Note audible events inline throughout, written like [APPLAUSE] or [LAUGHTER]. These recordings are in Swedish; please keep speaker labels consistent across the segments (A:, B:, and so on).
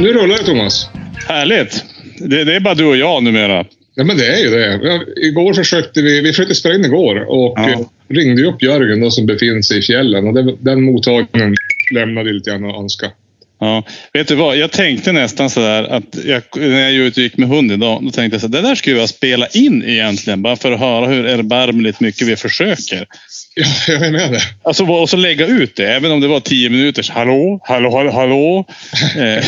A: Nu rullar det Thomas.
B: Härligt! Det, det är bara du och jag numera.
A: Ja, men det är ju det. Ja, Igår försökte vi, vi försökte spela in igår och
B: Ja.
A: eh, ringde ju upp Jörgen då, som befinner sig i fjällen och den, den mottagningen lämnade lite grann att önska. [LAUGHS]
B: Ja. Vet du vad? Jag tänkte nästan sådär att jag, när jag är ute och gick med hund idag. Då tänkte jag så här, det där skulle jag spela in egentligen. Bara för att höra hur erbarmligt mycket vi försöker.
A: Ja, jag är med det.
B: Alltså, och så lägga ut det. Även om det var tio minuters hallå, hallå, hallå, hallå. [LAUGHS] Eh,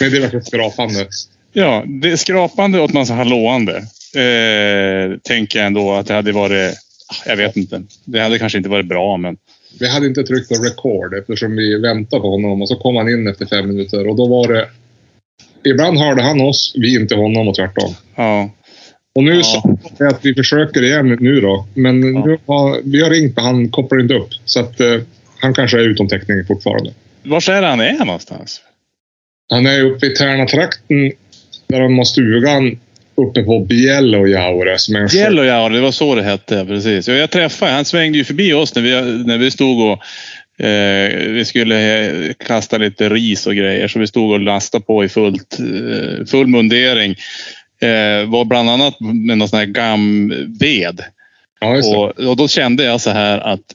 A: Men det är verkligen skrapande.
B: ja, det är skrapande och man så hallåande. Eh, tänker jag ändå att det hade varit... ah, Jag vet inte. Det hade kanske inte varit bra, men...
A: Vi hade inte tryckt på record eftersom vi väntade på honom och så kom han in efter fem minuter och då var det... Ibland hörde han oss, vi inte honom och tvärtom.
B: Ja.
A: Och nu
B: Ja.
A: sa han att vi försöker igen nu då. Men
B: Ja.
A: nu har, vi har ringt men han kopplar inte upp. Så att eh, han kanske är utom täckning fortfarande.
B: Var är det han är någonstans?
A: Han är uppe i Tärnatrakten där han har stugan uppe på Bjällåjaure som är en sjö.
B: Yellowjaure, det var så det hette. ja, Precis. Ja, Jag träffade, han svängde ju förbi oss när vi, när vi stod och eh, vi skulle eh, kasta lite ris och grejer. Så vi stod och lastade på i fullt, eh, full mundering. Eh, var bland annat med någon sån här gammved.
A: Ja, just det.
B: Och, och då kände jag så här att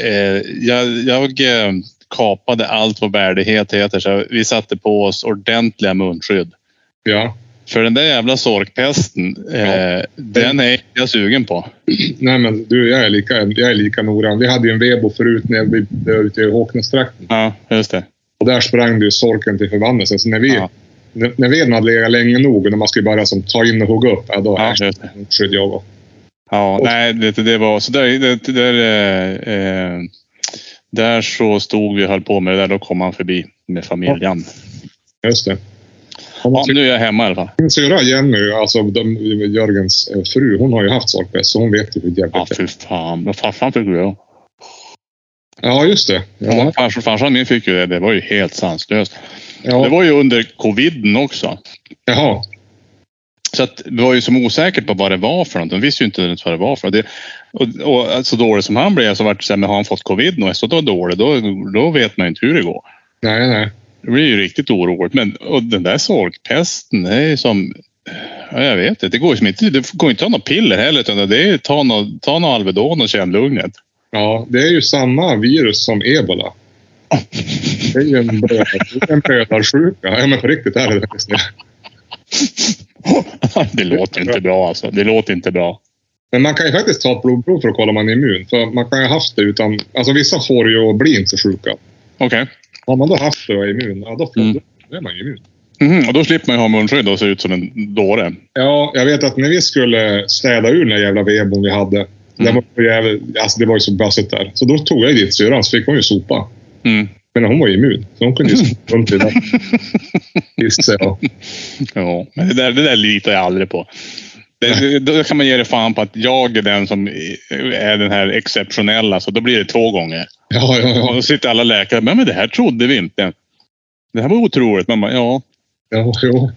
B: eh, jag, jag eh, kapade allt vad värdighet heter. Så jag- vi satte på oss ordentliga munskydd.
A: Ja.
B: För den där jävla sorkpesten, eh, den är jag sugen på.
A: Nej men du, jag är lika, jag är lika noggrann. Vi hade ju en Vebo förut när vi var ute i Håknästrakten.
B: Ja, just det.
A: Och där sprang det ju sorken till förbannelse. Så när, vi,
B: Ja.
A: när, när veden hade legat länge nog och när man skulle börja som, ta in och hugga upp, ja, då
B: Ja,
A: är
B: just det.
A: skydd jag av.
B: Ja, nej, det, det var så där. Det, det där, eh, eh, där så stod vi och höll på med det där. Då kom han förbi med familjen.
A: Just det.
B: Ja, nu är jag hemma i alla fall.
A: Min syrra Jenny, alltså de, Jörgens eh, fru, hon har ju haft sorkbäst så hon vet ju hur jävligt
B: Ja,
A: det
B: fy
A: är.
B: fan. Vad farsan fick ju det.
A: Ja, just det. Ja,
B: Ja, farsan, farsan min fick ju det. Det var ju helt sanslöst. Det
A: ja.
B: var ju under coviden också.
A: Jaha.
B: Så att det var ju som osäkert på vad det var för något. De visste ju inte ens vad det var för något. Det, och, och så dålig som han blev så vart det så här, men har han fått covid nu? Så då dålig, då, då vet man ju inte hur det går.
A: Nej, nej.
B: Det blir ju riktigt oroligt. Men och den där sorkpesten, det är ju som... Ja, jag vet inte. Det går ju som inte, det går inte att ta något piller heller. Utan det är ta någon, ta någon Alvedon och känn lugnet.
A: Ja, det är ju samma virus som ebola. Det är ju en bröd- en brödarsjuka. Ja, men på riktigt är det det faktiskt.
B: [LAUGHS] det låter ju inte bra alltså. Det låter inte bra.
A: Men man kan ju faktiskt ta ett blodprov för att kolla om man är immun. För man kan ju ha haft det utan... Alltså vissa får ju och blir inte sjuka.
B: Okej.
A: Har man då haft det och är immun, ja då, får,
B: Mm.
A: då är man ju immun.
B: Mhm, och då slipper man ju ha munskydd och se ut som en dåre.
A: Ja, jag vet att när vi skulle städa ur den där jävla vebon vi hade. Den var ju jävla, alltså det var ju så bassigt där. Så då tog jag ju dit syrran, så fick hon ju sopa.
B: Mm.
A: Men hon var ju immun, så hon kunde ju sopa runt i den. Gissar jag.
B: Ja, men det där, det där litar jag aldrig på. Det, det, då kan man ge det fan på att jag är den som är den här exceptionella. Så då blir det två gånger.
A: Ja, ja,
B: Och
A: ja.
B: då sitter alla läkare men, men det här trodde vi inte. Det här var otroligt. Man bara, ja.
A: ja, ja.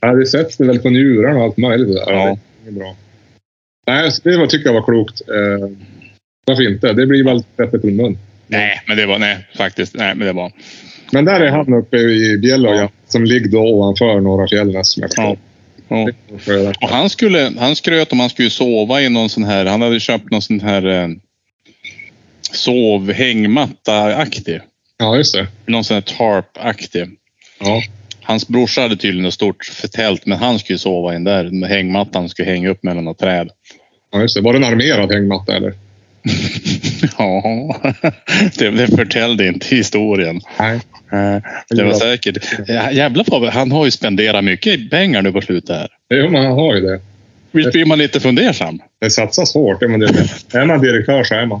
A: ja det sätts det väl på njurarna och allt möjligt. Där.
B: Ja.
A: Ja. Det är bra. Nej, så det var, tycker jag var klokt. Eh, varför inte? Det blir väl öppet i mun.
B: Nej, men det var, nej, faktiskt. Nej, men det var.
A: Men där är han uppe i Bjällåja som ligger då ovanför Norra Fjällnäs som jag
B: Ja.
A: förstår.
B: Ja.
A: Ja.
B: Och han, skulle, han skröt om han skulle sova i någon sån här, han hade köpt någon sån här eh, sovhängmatta-aktig.
A: ja, just det.
B: Någon sån här tarp-aktig.
A: Ja.
B: Hans brorsa hade tydligen ett stort tält, men han skulle sova i den där den hängmattan skulle hänga upp mellan några träd. [LAUGHS]
A: ja, just det. Var det en armerad hängmatta eller?
B: ja, [LAUGHS] det, det förtällde inte historien.
A: Nej.
B: Eh, Det var säkert. Ja, Jävlar vad han har ju spenderat mycket pengar nu på slutet här.
A: Jo, man har ju det.
B: Visst blir man lite fundersam? [LAUGHS]
A: Det satsas hårt. Ja, men det är, är man direktör så är man.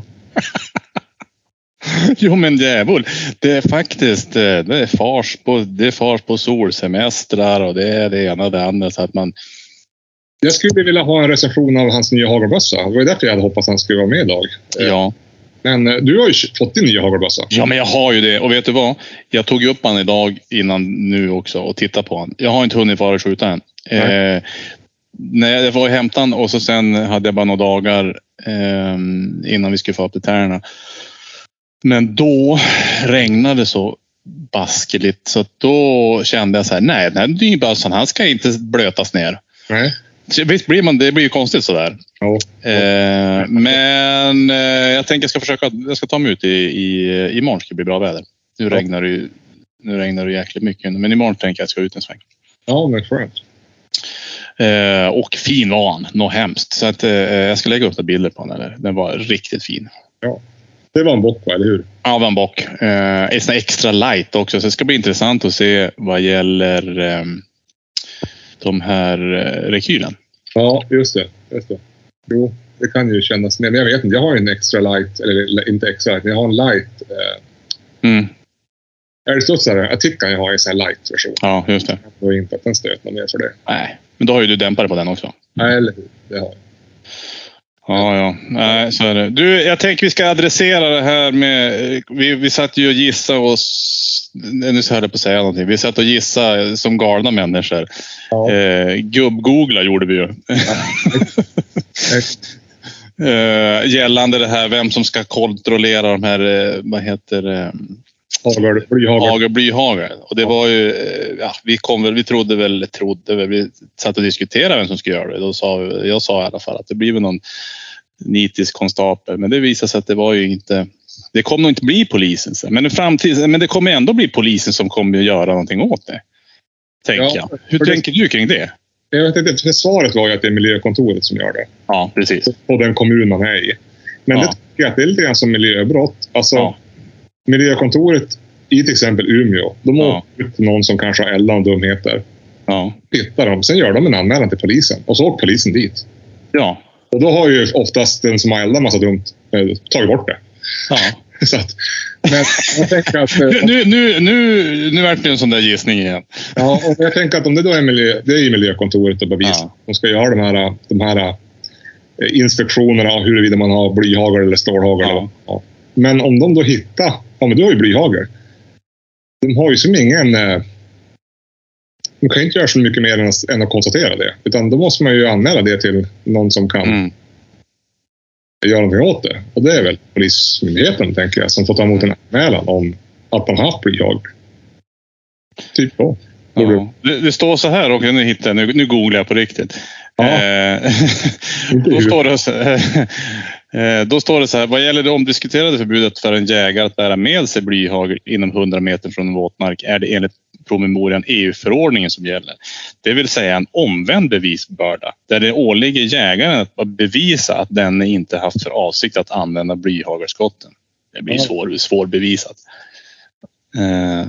B: Jo men djävul. Det är faktiskt eh, det är fars på, det är fars på solsemestrar och det är det ena och det andra. Så att man,
A: Jag skulle vilja ha en recension av hans nya hagelbössa. Det var ju därför jag hade hoppats att han skulle vara med idag.
B: ja.
A: Men eh, du har ju fått din nya hagelbössa.
B: ja men jag har ju det. Och vet du vad? Jag tog ju upp han idag innan nu också och tittade på han. Jag har inte hunnit fara och skjuta än. Eh, nej, jag var och hämtade han och så sen hade jag bara några dagar ehm, innan vi skulle få upp gitarrerna. Men då regnade så baskeligt så att då kände jag så här, nej den här dyrbössan han ska inte blötas ner.
A: Nej.
B: Så Visst blir man, det blir ju konstigt sådär.
A: Ja.
B: Eh, men eh, jag tänker jag ska försöka, jag ska ta mig ut i, i, imorgon ska det bli bra väder. Nu
A: Ja.
B: regnar det ju, nu regnar det jäkligt mycket men imorgon tänker jag att jag ska ut en sväng.
A: Ja, men skönt.
B: Eh, och fin var han, något hemskt. Så att, eh, jag ska lägga upp några bilder på honom. Den var riktigt fin.
A: Det var en bock, va, eller hur?
B: Ja, var en bock. Eh, en sån här extra light också. Så det ska bli intressant att se vad gäller eh, de här eh, rekylen.
A: Ja, just det. Just det. Jo, det kan ju kännas mer. Men jag vet inte. Jag har ju en extra light, eller inte extra light, men jag har en light. Eh,
B: Mm,
A: Älgstudsare, jag tycker jag har en sån här light-version.
B: ja, just det.
A: Jag tror inte att den stöter någon mer för det.
B: Nej, men då har ju du dämpare på den också.
A: Nej, eller hur? Det har jag.
B: Ja, ja. Nej, så är det. Du, jag tänker vi ska adressera det här med... eh, Vi, vi satt ju och gissade oss... Nu så höll jag på att säga någonting. Vi satt och gissade som galna människor.
A: Ja.
B: Eh, Gubb-googla gjorde vi ju. [LAUGHS] Eh, gällande det här vem som ska kontrollera de här, eh, vad heter det,
A: Hagel, blyhagel.
B: hagel, blyhagel. Och det var ju, eh, ja, vi kom väl, vi trodde väl, trodde väl, vi satt och diskuterade vem som skulle göra det. Då sa, vi- jag sa i alla fall att det blir väl någon nitisk konstapel, men det visade sig att det var ju inte det kommer nog inte bli polisen sen, men, i framtiden, men det kommer ändå bli polisen som kommer att göra någonting åt det. Tänker
A: Ja,
B: jag. Hur
A: för det-
B: tänker du kring det?
A: Jag vet inte, för svaret var ju att det är miljökontoret som gör det.
B: Ja, precis.
A: På den kommun man är i. Men
B: Ja.
A: det tycker jag att det är lite grann som miljöbrott. Alltså,
B: Ja.
A: miljökontoret i till exempel Umeå. De
B: Ja.
A: åker ut någon som kanske har eldat om dumheter.
B: Ja.
A: Hittar dem. Sen gör de en anmälan till polisen. Och så åker polisen dit.
B: Ja.
A: Och då har ju oftast den som har eldat massa dumt eh, tagit bort det. [LAUGHS]
B: ja.
A: Så att, men jag tänker att... eh,
B: Nu, nu, nu, nu, nu vart det en sån där gissning igen.
A: Ja, och jag tänker att om det då är miljö, det är ju miljökontoret och bevis.
B: Ja.
A: De ska göra de här, de här eh, inspektionerna av huruvida man har blyhagel eller stålhagel.
B: Ja.
A: Ja. Men om de då hittar, ja men du har ju blyhagel. De har ju som ingen... eh, De kan ju inte göra så mycket mer än att, än att konstatera det. Utan då måste man ju anmäla det till någon som kan
B: Mm.
A: göra någonting åt det. Och det är väl Polismyndigheten, tänker jag, som får ta emot en anmälan om att de har haft blyhagel. Typ då. Borde-
B: Ja. Det, det står så här, och nu hittar jag, nu, nu googlar jag på riktigt.
A: Ja.
B: Eh, [LAUGHS]
A: Inte
B: då,
A: hur-
B: står det, så- [LAUGHS] eh, då står det så här, vad gäller det omdiskuterade förbudet för en jägare att bära med sig blyhagel inom 100 meter från en våtmark är det enligt promemorian EU-förordningen som gäller. Det vill säga en omvänd bevisbörda där det åligger jägaren att bevisa att den inte haft för avsikt att använda blyhagelskotten. Det blir
A: Ja.
B: svår, svårbevisat. Eh,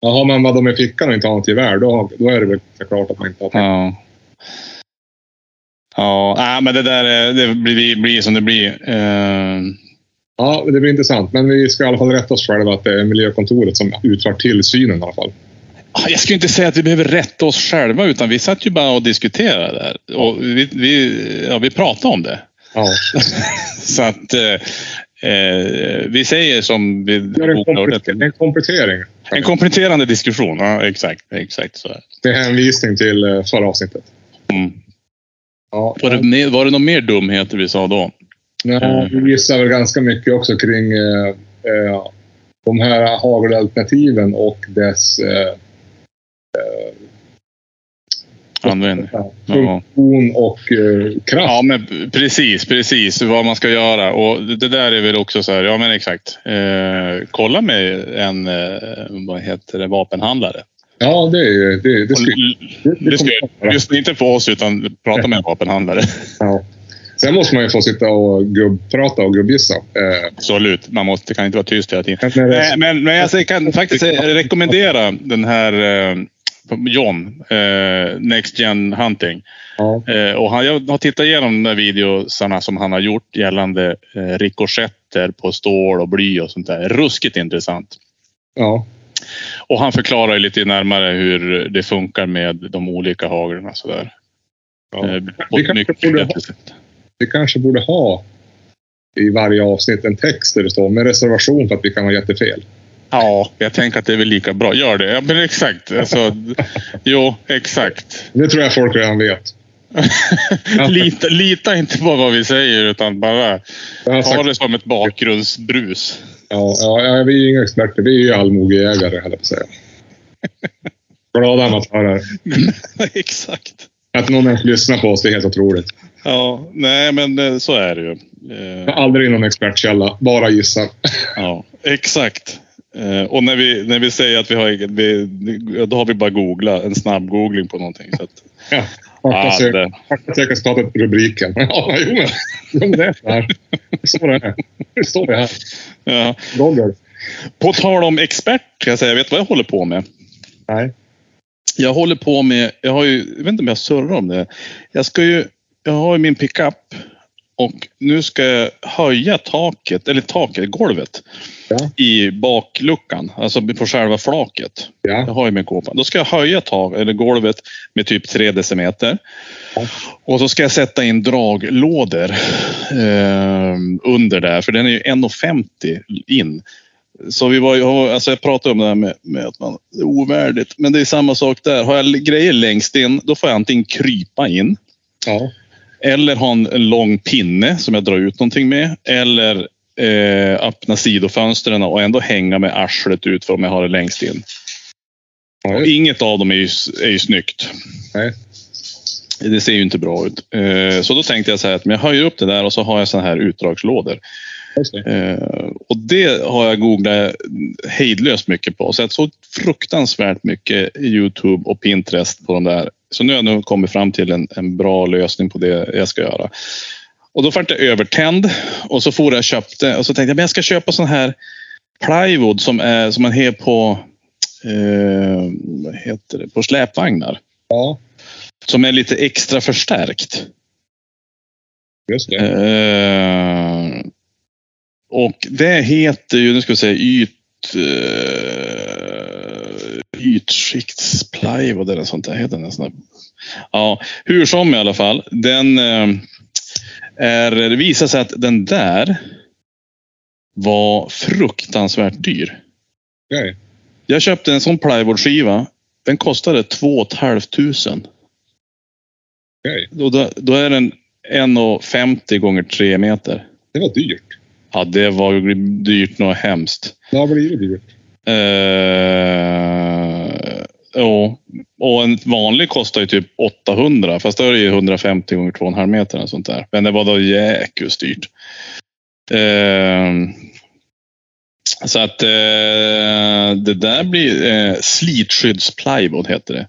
A: Jaha, men vad de är i fickan och inte har något gevär, då, då är det väl klart att man inte har tänkt.
B: Ja. Ja, nej, men det där är- det blir, blir som det blir. Eh,
A: Ja, det blir intressant. Men vi ska i alla fall rätta oss själva att det är miljökontoret som utför tillsynen i alla fall.
B: jag skulle inte säga att vi behöver rätta oss själva, utan vi satt ju bara och diskuterade det här. Och vi, vi, ja, vi pratade om det. [LAUGHS]
A: Ja.
B: Så att eh, eh, vi säger som vi
A: Gör en,
B: boknördet.
A: komplettering, en komplettering.
B: En kompletterande diskussion. Ja, exakt. exakt så. är det.
A: Med hänvisning till eh, förra avsnittet.
B: Mm.
A: Ja,
B: Var, det, mer- var det någon mer dumheter vi sa då?
A: nej, vi gissar väl ganska mycket också kring eh, eh, de här hagelalternativen och dess eh,
B: Användning. Ja.
A: funktion och eh, kraft.
B: Ja, men p- precis, precis vad man ska göra. Och det det där är väl också så här, ja men exakt. Eh, kolla med en, eh, vad heter det, vapenhandlare.
A: Ja, det, är ju- det, det,
B: Och
A: skulle-
B: l-
A: det, det
B: Det ska,
A: kommer vara.
B: just inte på oss, utan prata med en
A: [LAUGHS]
B: vapenhandlare.
A: Ja. Sen måste man ju få sitta och gubbprata och gubbgissa. Eh,
B: Absolut, man måste, kan inte vara tyst hela tiden.
A: men när det-
B: Nej, men, men jag kan faktiskt eh, rekommendera den här eh, John, eh, Next Gen Hunting.
A: ja.
B: Eh, och han, jag har tittat igenom de här videosarna som han har gjort gällande eh, rikoschetter på stål och bly och sånt där. Ruskigt intressant.
A: Ja.
B: Och han förklarar ju lite närmare hur det funkar med de olika haglarna sådär.
A: Ja.
B: Eh, på ett
A: kanske
B: mycket
A: borde
B: bättre
A: ha-
B: sätt.
A: Vi kanske borde ha i varje avsnitt en text där det står med reservation för att vi kan ha jättefel.
B: Ja, jag tänker att det är väl lika bra. Gör det. Ja, men exakt. Alltså, jo, exakt.
A: Det tror jag folk redan vet.
B: [LAUGHS] lita, lita inte på vad vi säger utan bara
A: Jag har
B: ta
A: sagt,
B: det som ett bakgrundsbrus. [LAUGHS]
A: ja, ja, ja, vi är ju inga experter. Vi är ju allmogejägare, höll jag på att säga. Glada amatörer.
B: Exakt.
A: Att någon ens lyssnar på oss, det är helt otroligt.
B: Ja, nej men eh, så är det ju.
A: Jag
B: Eh,
A: har aldrig någon expertkälla, bara gissar.
B: ja, exakt. Eh, och när vi, när vi säger att vi har egen- vi, då har vi bara googlat, en snabb googling på någonting. Så att,
A: [LAUGHS] Ja. Harta
B: ah,
A: söker-
B: det,
A: Harta söker startat rubriken. [LAUGHS] Ja, jo men. Jo, men det är så här. Så det är. Nu står vi här.
B: ja.
A: Roger.
B: På tal om expert kan jag säga, vet du vad jag håller på med?
A: Nej.
B: Jag håller på med, jag har ju, jag vet inte om jag surrar om det. Jag ska ju, jag har ju min pickup och nu ska jag höja taket, eller taket, golvet.
A: Ja.
B: I bakluckan, alltså på själva flaket. Jag
A: Ja.
B: har ju min kåpa. Då ska jag höja tak, eller golvet med typ 3 decimeter.
A: Ja.
B: Och så ska jag sätta in draglådor eh, under där, för den är ju 1,50 in. Så vi var ju, alltså jag pratade om det här med, med att man det är ovärdigt. Men det är samma sak där. Har jag grejer längst in, då får jag antingen krypa in.
A: Ja.
B: Eller ha en, en lång pinne som jag drar ut någonting med. Eller eh, öppna sidofönstren och ändå hänga med arslet ut för om jag har det längst in.
A: Ja,
B: Och
A: just-
B: inget av dem är ju, s- är ju snyggt.
A: Nej.
B: Det ser ju inte bra ut. Eh, så då tänkte jag så här att men jag höjer upp det där och så har jag såna här utdragslådor.
A: just det.
B: Eh, och det har jag googlat hejdlöst mycket på. Sett så fruktansvärt mycket Youtube och Pinterest på de där. Så nu har jag nu kommit fram till en, en bra lösning på det jag ska göra. Och då vart jag övertänd och så for jag och köpte och så tänkte jag men jag ska köpa sån här plywood som, är, som man har på, eh, vad heter det, på släpvagnar.
A: Ja,
B: Som är lite extra förstärkt.
A: just det.
B: Eh, och det heter ju, nu ska vi säga, yt, uh, ytskiktsplywood eller sånt där. Heter den sån där. Ja, hur som i alla fall. Den eh, är, det visar sig att den där var fruktansvärt dyr.
A: Okej.
B: Jag köpte en sån plywoodskiva. Den kostade 2 500.
A: Okej.
B: Då, då, då är den 1,50 gånger 3 meter.
A: Det var dyrt.
B: Ja, det var ju dyrt något hemskt.
A: Det har blivit dyrt.
B: Eh, ja, och en vanlig kostar ju typ 800, fast då är det ju 150 gånger 2,5 meter eller sånt där. Men det var då jäkligt dyrt. Eh, så att eh, det där blir eh, slitskyddsplywood heter det.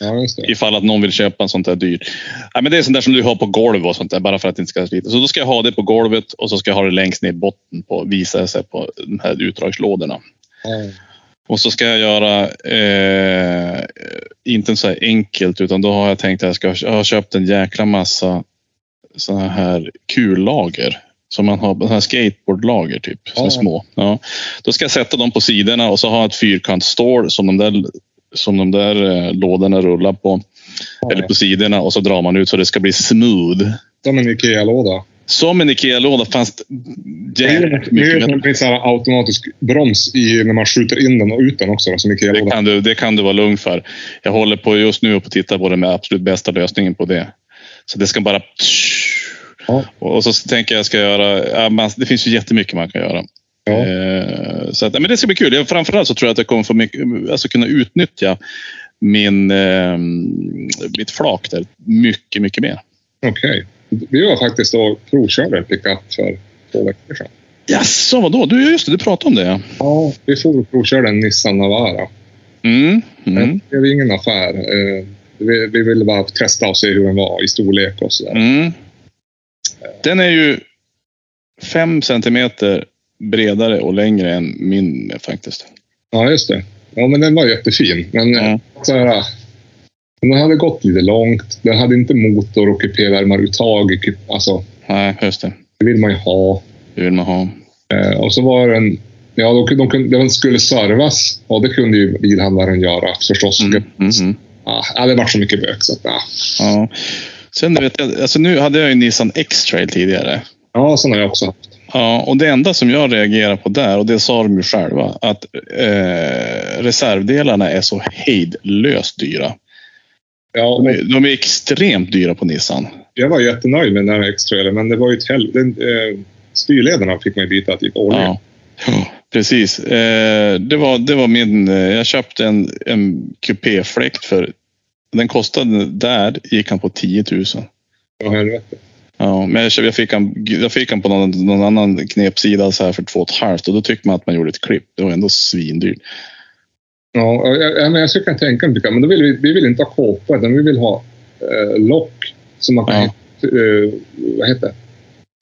A: Ja, just det.
B: Ifall att någon vill köpa en sånt där dyrt. Ja, men det är sånt där som du har på golv och sånt där bara för att det inte ska slita. Så då ska jag ha det på golvet och så ska jag ha det längst ner i botten på visar sig på de här utdragslådorna.
A: Ja.
B: Och så ska jag göra, eh, inte så här enkelt, utan då har jag tänkt att jag, ska, jag har köpt en jäkla massa såna här kullager. Som man har, såna här skateboardlager typ, som är
A: Ja.
B: små. Ja. Då ska jag sätta dem på sidorna och så har jag ett fyrkantsstål som de där, som de där eh, lådorna rullar på. Eller på sidorna och så drar man ut så det ska bli smooth.
A: Som en Ikea-låda.
B: Som en Ikea-låda fast
A: Det är
B: jävligt
A: det är
B: mycket
A: ju som
B: bättre.
A: det finns så här automatisk broms i, när man skjuter in den och ut den också, som
B: Det
A: Ikea-låda.
B: kan, du, det kan du vara lugn för. Jag håller på just nu och tittar på den med absolut bästa lösningen på det. Så det ska bara...
A: Ja.
B: Och så tänker jag ska göra... ja, man- Det finns ju jättemycket man kan göra.
A: Ja.
B: Eh, Så att, men det ska bli kul. Jag- Framförallt så tror jag att jag kommer få mycket, alltså kunna utnyttja min, eh, mitt flak där mycket, mycket mer.
A: Okej. Vi var faktiskt och provkörde pickup för två veckor sedan.
B: Jaså, vadå? Du, ja, just det, du pratade om det. ja.
A: Ja, vi får och provkörde en Nissan Navara.
B: Mm, mm,
A: Det blev ingen affär. Eh, Vi, vi ville bara testa och se hur den var i storlek och sådär.
B: mm. Den är ju fem centimeter bredare och längre än min faktiskt.
A: Ja, just det. Ja, men den var jättefin. Men eh,
B: Ja.
A: så här, den hade gått lite långt. Den hade inte motor och kupévärmaruttag. i kup- Alltså,
B: Nej, just det.
A: det vill man ju ha.
B: Det vill man ha. Mm.
A: Eh, och så var den... Ja, de, kunde- de, kunde- den skulle servas. Ja, det kunde ju bilhandlaren göra förstås.
B: Mm, mm, mm.
A: Ah, ja, det var så mycket bök. Så att, ah.
B: Ja. Sen du vet jag, alltså nu hade jag ju Nissan X-Trail tidigare.
A: Ja, sådana har jag också haft.
B: Ja, och det enda som jag reagerar på där, och det sa de ju själva, att eh, reservdelarna är så hejdlöst dyra.
A: Ja, och
B: De, de är extremt dyra på Nissan.
A: jag var jättenöjd med den här extra men det var ju ett helvete. Eh, styrledarna fick man ju byta typ årligen.
B: Ja. Ja, Precis. Eh, det, var, det var min... eh, Jag köpte en, en kupéfläkt för... Den kostade där, gick han på 10 000.
A: Ja, helvete.
B: Ja, men jag, köpte- jag, fick han, jag fick han på någon, någon annan knepsida så här för två och ett halvt och då tyckte man att man gjorde ett klipp. Det var ändå svindyrt.
A: Ja, jag, jag, men jag skulle kunna tänka mig mycket. Men då vill vi, vi vill inte ha kåpa, utan vi vill ha eh, lock som man kan
B: Ja.
A: hitta, eh, vad heter det?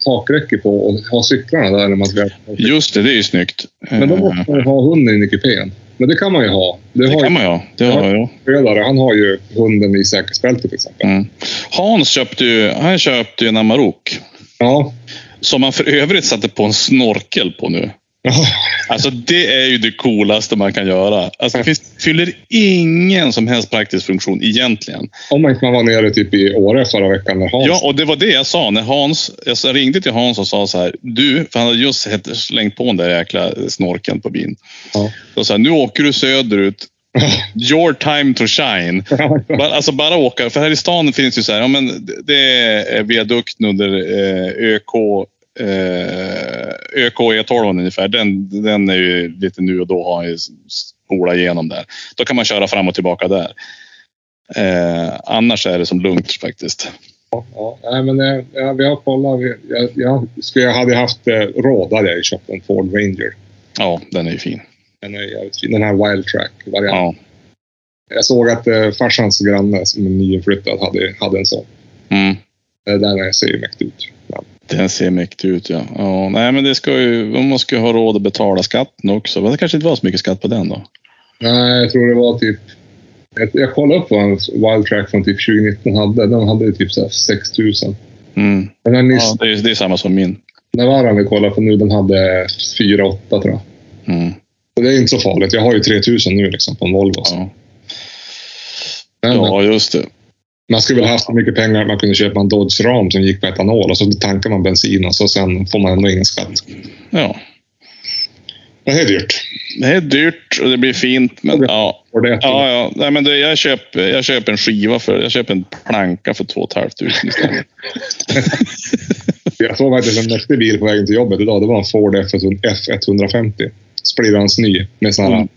A: takräcke på och ha cyklarna där. När man ska,
B: Just det, det är ju snyggt. Eh,
A: men då måste man ju ha hunden inne i kupén. Men det kan man ju ha. Det,
B: det
A: har
B: kan
A: ju
B: man ja. Eh, Det har jag.
A: Fredare, han har ju hunden i säkerhetsbältet till exempel.
B: Mm. Hans köpte ju, han köpte ju en Amarok.
A: Ja. [LAUGHS]
B: Som han för övrigt satte på en snorkel på nu. Alltså det är ju det coolaste man kan göra. Alltså, det finns, fyller ingen som helst praktisk funktion egentligen.
A: Om man inte man var nere typ i Åre förra veckan när Hans...
B: Ja, och det var det jag sa när Hans... Jag sa- ringde till Hans och sa så här. Du, för han hade just het- slängt på den där jäkla snorkeln på bin.
A: Ja.
B: Då sa jag, nu åker du söderut. Your time to shine. Bara, alltså bara åka. För här i stan finns ju så här, ja, men det- det är viadukten under eh, ÖK, eh, ÖK E12 ungefär. Den, den är ju lite nu och då har ju s- spola igenom där. Då kan man köra fram och tillbaka där. Eh, annars är det som lugnt faktiskt.
A: [LAUGHS] Ja, nej, men eh, ja, vi har kollat. Vi- Jag, jag, skulle jag hade haft eh, råd hade jag ju köpt en Ford Ranger.
B: Ja, den är ju fin.
A: Den är jävligt fin. Den här Wild Track-varianten.
B: Ja.
A: Jag såg att eh, farsans granne som är nyinflyttad hade, hade en sån.
B: Mm.
A: Eh, Den ser ju mäktig ut. Ja.
B: Den ser mäktig ut ja. ja. Nej, men det ska ju, man måste ju ha råd att betala skatten också. Men det kanske inte var så mycket skatt på den då.
A: Nej, jag tror det var typ... Jag, jag kollade upp vad en Wild Track från typ 2019 hade. Den hade ju typ så här 6 000.
B: Mm.
A: Den här Nissan
B: Ja, det, är, det är samma som min.
A: Navaran vi kollade på nu, den hade 4 8 tror jag.
B: Mm.
A: Så det är inte så farligt. Jag har ju 3000 nu liksom på en Volvo. så.
B: Ja.
A: Men,
B: ja, just det.
A: Man skulle väl haft så mycket pengar att man kunde köpa en Dodge Ram som gick på etanol och så tankar man bensin och så sen får man ändå ingen skatt.
B: Ja.
A: Det är dyrt.
B: Det är dyrt och det blir fint. Men,
A: Okej.
B: ja.
A: Och det,
B: Ja, ja. Nej, men det, jag, köper, jag köper en skiva för Jag köper en planka för 2 500 istället.
A: Jag såg faktiskt en mäktig bil på vägen till jobbet idag. Det var en Ford F1- F150. Splirrans ny. Med sån här,
B: Mm.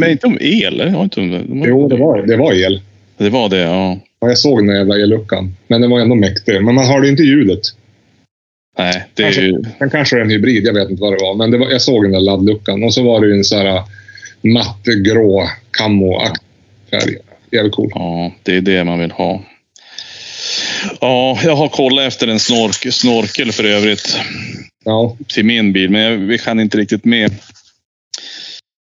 B: Men inte om el? eller? Jag har inte om det.
A: Jo, det var, det var el.
B: det var det. Ja.
A: Ja, Jag såg den där jävla elluckan. Men den var ändå mäktig. Men man hörde inte ljudet.
B: Nej, det är ju...
A: Den kanske är en hybrid, jag vet inte vad det var. Men det var, jag såg den där laddluckan. Och så var det ju en så här mattgrå camo-aktig färg. Jävligt cool.
B: Ja, det är det man vill ha. Ja, jag har kollat efter en snork, snorkel för övrigt
A: Ja,
B: till min bil, men jag, vi kan inte riktigt med.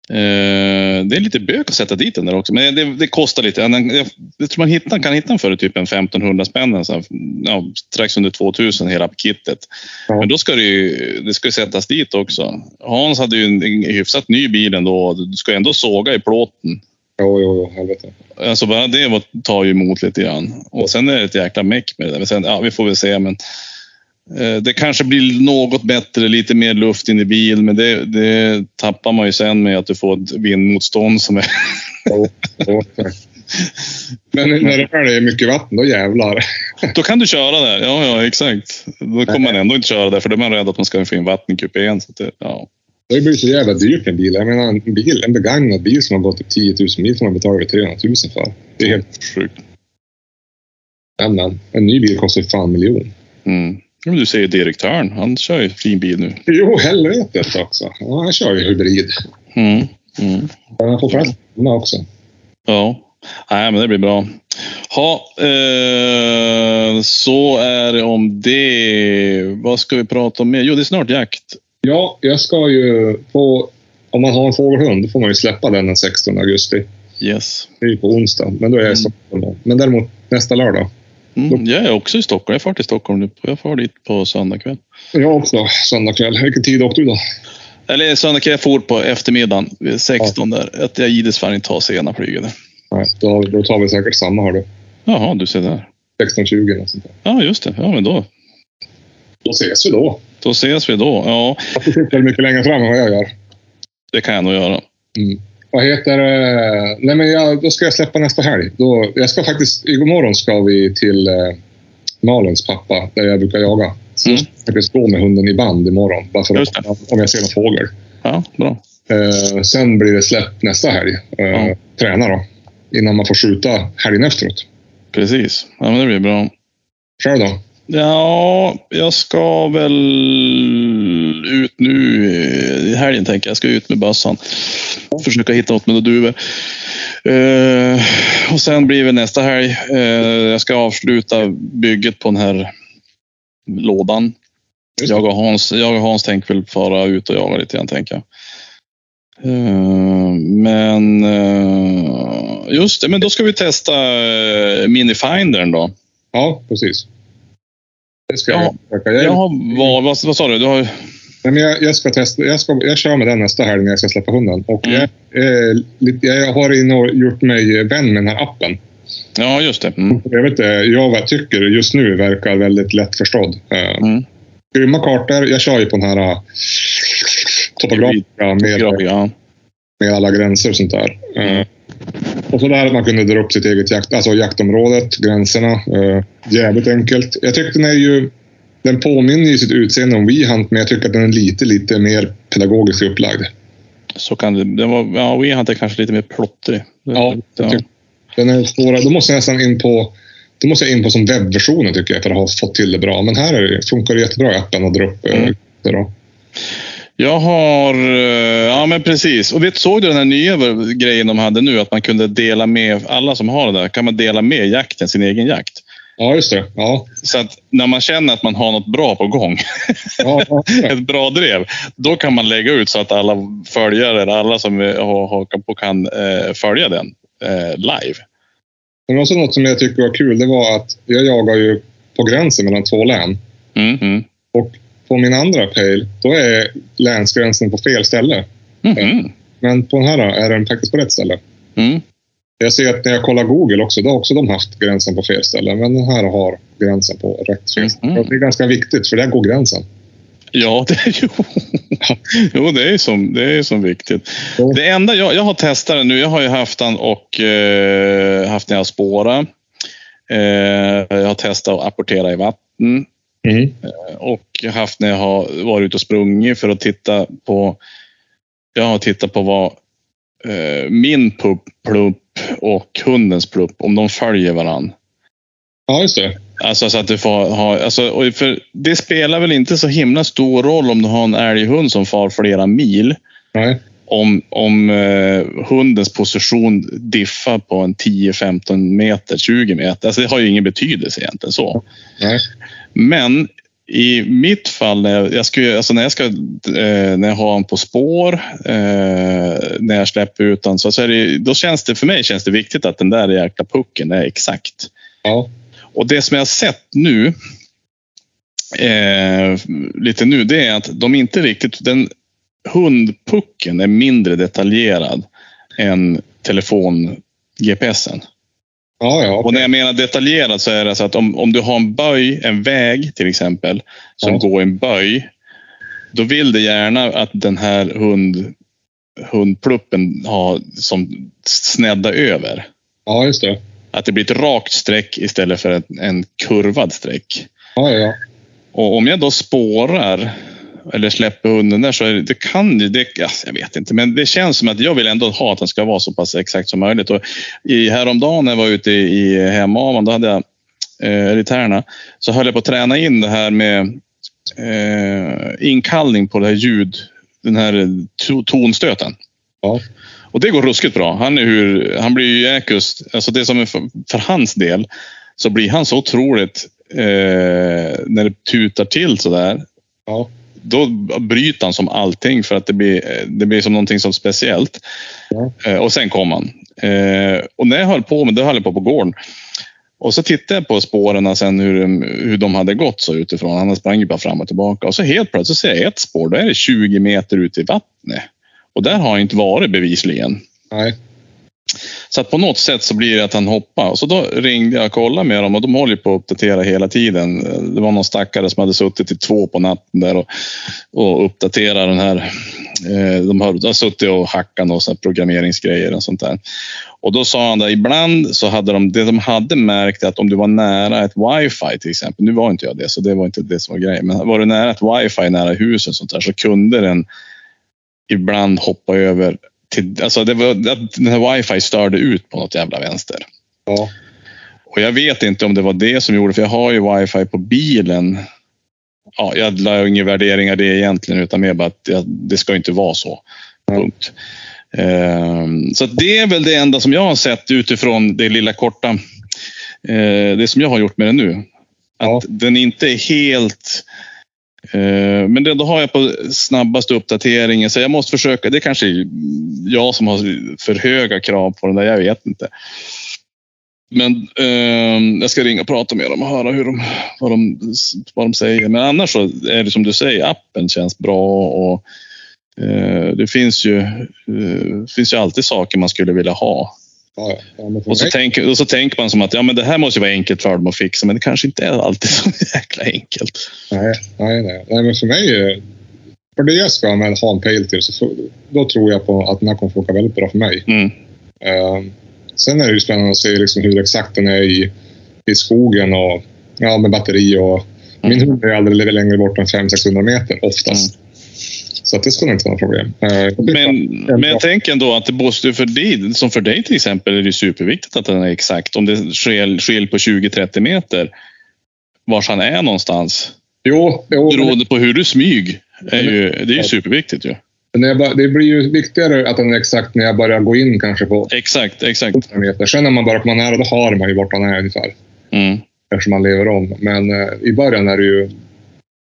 B: Eh, det är lite bök att sätta dit den där också, men det, det kostar lite. Den, jag, jag tror man hittar, kan hitta den för typ en 1500 spänn, en sån här, ja, strax under 2000 hela kittet.
A: Ja.
B: Men då ska det ju det ska ju sättas dit också. Hans hade ju en, en hyfsat ny bil ändå. Du ska ju ändå såga i plåten.
A: jo, jo, jo helvete.
B: Alltså bara det var, tar ju emot lite grann. Och sen är det ett jäkla meck med det där. Men sen, ja, vi får väl se. Men, eh, det kanske blir något bättre, lite mer luft in i bil. Men det, det tappar man ju sen med att du får ett vindmotstånd som är... [LAUGHS]
A: Jo, jo. Men när det väl är mycket vatten, då jävlar.
B: Då kan du köra där. Ja, ja, exakt. Då kommer man ändå inte köra där, för då är man rädd att man ska få in vatten i kupén. Så att det, ja.
A: Det blir så jävla dyrt med bilar. Jag menar, en, bil, en begagnad bil som har gått upp 10 000 mil får man betala över 300 000 för. Det är helt...
B: Sjukt.
A: Ja, men, en ny bil kostar ju fan en miljon.
B: Mm. Ja, Men du ser ju direktören. Han kör ju fin bil nu.
A: Jo, helvetet också. Ja, han kör ju hybrid.
B: Mm. Mm.
A: Men han får plats med också.
B: Ja, nej men det blir bra. Ha, eh, så är det om det. Vad ska vi prata om mer? Jo, det är snart jakt.
A: Ja, jag ska ju få... Om man har en fågelhund, då får man ju släppa den den 16 augusti.
B: Yes.
A: Det är ju på onsdag, men då är jag i
B: Mm.
A: Stockholm. då. Men däremot nästa lördag.
B: Mm, jag är också i Stockholm. Jag far till Stockholm nu. Jag far dit på söndag kväll.
A: Jag också, söndag kväll. Vilken tid åkte du då?
B: Eller söndag kväll. Jag for på eftermiddagen vid 16 där. Att jag ides fan inte ta sena flyget. där.
A: Nej, då, då tar vi säkert samma, hör du.
B: Jaha, du ser där.
A: 16.20 eller något sånt där.
B: Ja, just det. Ja, men då.
A: Då ses vi då.
B: Då ses vi då. Ja,
A: Du sitter väl mycket längre fram än vad jag gör.
B: det kan jag nog göra.
A: Mm. Vad heter det? Nej, men jag, då ska jag släppa nästa helg. Då, jag ska faktiskt, imorgon ska vi till eh, Malins pappa, där jag brukar jaga. Så
B: Mm.
A: jag ska faktiskt gå med hunden i band imorgon. Bara för
B: Just
A: att, om jag ser någon fågel.
B: Ja, bra.
A: Eh, sen blir det släpp nästa helg. Eh,
B: Ja.
A: Träna då. Innan man får skjuta helgen efteråt.
B: Precis. Ja, men det blir bra.
A: Själv då?
B: Ja, jag ska väl ut nu eh, i helgen tänker jag. Jag ska ut med bössan. Försöka hitta något med några duvor. Eh, och sen blir det nästa helg. Eh, jag ska avsluta bygget på den här lådan.
A: Just det.
B: Jag och Hans, jag och Hans tänker väl fara ut och jaga lite grann tänker jag. Eh, Men eh, just det, men då ska vi testa eh, minifindern då.
A: Ja, precis. Det ska
B: Ja.
A: jag försöka. Jag,
B: Jag har val, vad, vad sa du? du har,
A: Nej, men jag, jag ska testa. Jag, ska, jag kör med den nästa helg när jag ska släppa hunden. Och
B: Mm.
A: jag, är lite, jag har in och gjort mig vän med den här appen.
B: ja, just det. Mm.
A: Jag vet inte, jag vad jag tycker just nu verkar väldigt lättförstådd. Eh,
B: Mm.
A: Grymma kartor. Jag kör ju på den här eh, topografiska med,
B: Ja.
A: med alla gränser och sånt där. Eh,
B: Mm.
A: Och så där att man kunde dra upp sitt eget jakt, alltså jaktområdet, gränserna. Eh, jävligt enkelt. Jag tyckte den är ju... Den påminner ju sitt utseende om WeHunt, men jag tycker att den är lite, lite mer pedagogiskt upplagd.
B: Så kan det, det var, ja, vi hade kanske lite mer plottrig.
A: Ja, jag tycker- typ, Den är svåra. Då måste jag nästan in på, då måste jag in på som webbversionen tycker jag för att ha fått till det bra. Men här är det, funkar det jättebra i appen att dra upp. eh,
B: Mm.
A: det då.
B: Jag har... eh, Ja, men precis. Och vet, såg du den här nya v- grejen de hade nu? Att man kunde dela med... Alla som har det där kan man dela med jakten, sin egen jakt.
A: Ja, just det. Ja.
B: Så att när man känner att man har något bra på gång, [LAUGHS]
A: Ja, ja, ja.
B: ett bra drev, då kan man lägga ut så att alla följare, eller alla som eh, har hakat på kan eh, följa den eh, live.
A: Men också något som jag tycker var kul, det var att jag jagar ju på gränsen mellan två län.
B: Mm, mm.
A: På min andra pejl, då är länsgränsen på fel ställe.
B: Mhm.
A: Men på den här är den faktiskt på rätt ställe.
B: Mm.
A: Jag ser att när jag kollar Google också, då har också de haft gränsen på fel ställe. Men den här har gränsen på rätt fel ställe.
B: Mm.
A: Och Det är ganska viktigt, för där går gränsen.
B: Ja, det, jo. [LAUGHS] jo, det är ju som, det är ju som viktigt.
A: Ja.
B: Det enda jag, jag har testat den nu, jag har ju haft den och eh, haft när jag spårar. Eh, jag har testat att apportera i vatten
A: Mm.
B: och haft när jag har varit ute och sprungit för att titta på. Jag har tittat på vad eh, min pupp, plupp och hundens plupp, om de följer varann.
A: Ja, just det.
B: Alltså så att du får ha... Alltså, och för det spelar väl inte så himla stor roll om du har en älghund som far flera mil.
A: Nej.
B: Om, om eh, hundens position diffar på en 10-15 meter, 20 meter. Alltså, det har ju ingen betydelse egentligen. så.
A: Nej.
B: Men i mitt fall, när jag, jag, ska, ju- alltså när, jag ska, eh, när jag har honom på spår, eh, när jag släpper ut honom, så, så är det, då känns det för mig känns det viktigt att den där jäkla pucken är exakt.
A: Ja.
B: Och det som jag har sett nu, eh, lite nu, det är att de inte riktigt... Den hundpucken är mindre detaljerad än telefon-GPSen.
A: Ja, ja.
B: Och när jag menar detaljerad så är det så att om, om du har en böj, en väg till exempel, som
A: Ja.
B: går i en böj. Då vill det gärna att den här hund, hundpluppen har som snedda över.
A: Ja, just det.
B: Att det blir ett rakt streck istället för en, en kurvad streck.
A: Ja, ja, ja.
B: Och om jag då spårar eller släpper hunden där så är det, det kan ju, det, ja, jag vet inte, men det känns som att jag vill ändå ha att den ska vara så pass exakt som möjligt. Och i, häromdagen när jag var ute i, i hemavan, då hade jag eh, Riterna, så höll jag på att träna in det här med eh, inkallning på det här ljud, den här to, tonstöten.
A: Ja.
B: Och det går ruskigt bra. Han, är hur, han blir ju jäkus, alltså det som är för, för hans del, så blir han så otroligt, eh, när det tutar till sådär,
A: Ja.
B: då bryter han som allting för att det blir, eh, det blir som någonting som speciellt.
A: Ja.
B: Eh, och sen kom han. Eh, och när jag höll på med det, höll jag på på gården. Och så tittade jag på spåren sen hur, de- hur de hade gått så utifrån. Han sprang ju bara fram och tillbaka. Och så helt plötsligt ser jag ett spår. Då är det 20 meter ut i vattnet. Och där har han inte varit bevisligen.
A: Nej.
B: Så att på något sätt så blir det att han hoppar. Och så då ringde jag och kollade med dem och de håller ju på att uppdatera hela tiden. Det var någon stackare som hade suttit till två på natten där och, och uppdaterat den här Eh, De har, de har suttit och hackat några såna här programmeringsgrejer och sånt där. Och då sa han att ibland så hade de, det de hade märkt är att om du var nära ett wifi till exempel, nu var inte jag det, så det var inte det som var grejen, men var du nära ett wifi nära huset och sånt där, så kunde den ibland hoppa över till, alltså det var, att den här wifi störde ut på något jävla vänster.
A: Ja.
B: Och jag vet inte om det var det som gjorde, för jag har ju wifi på bilen. Ja, jag la inga värderingar i det egentligen, utan mer bara att jag, det ska inte vara så. Punkt. Ehm, så att det är väl det enda som jag har sett utifrån det lilla korta, eh, det som jag har gjort med den nu. Att
A: Ja.
B: den inte är helt... eh, men det, då har jag på snabbaste uppdateringen, så jag måste försöka. Det kanske är jag som har för höga krav på den där, jag vet inte. Men ehm, jag ska ringa och prata med dem och höra hur de, vad, de, vad de säger. Men annars så är det som du säger, appen känns bra och eh, det finns ju, eh, finns ju alltid saker man skulle vilja ha.
A: Ja, ja. men för
B: Och så,
A: mig-
B: tänk, och så tänker man som att ja, men det här måste ju vara enkelt för dem att fixa, men det kanske inte är alltid [LAUGHS] så jäkla enkelt.
A: Nej, nej, nej. nej men för mig, eh, för det jag ska använda ha en pejl till, så f- då tror jag på att den här kommer funka väldigt bra för mig.
B: Mm.
A: Eh, sen är det ju spännande att se liksom hur exakt den är i, i skogen och ja, med batteri. Och, Min
B: Mm.
A: hund är aldrig längre bort än 500-600 meter oftast. Så att det skulle inte vara något problem. Eh, jag tycker att-
B: Men, men jag tänker ändå att det måste ju för dig, som för dig till exempel, är det ju superviktigt att den är exakt. Om det skil, skil på 20-30 meter, vars han är någonstans.
A: jo, jo men-
B: Beroende på hur du smyg. Är ju, det är ju superviktigt ju.
A: men när jag bara, det blir ju viktigare att den är exakt när jag börjar gå in kanske på
B: Exakt, exakt.
A: 100 meter. Sen när man börjar komma nära, då har man ju vart man är ungefär.
B: Mm.
A: eftersom man lever om. Men eh, i början är det ju...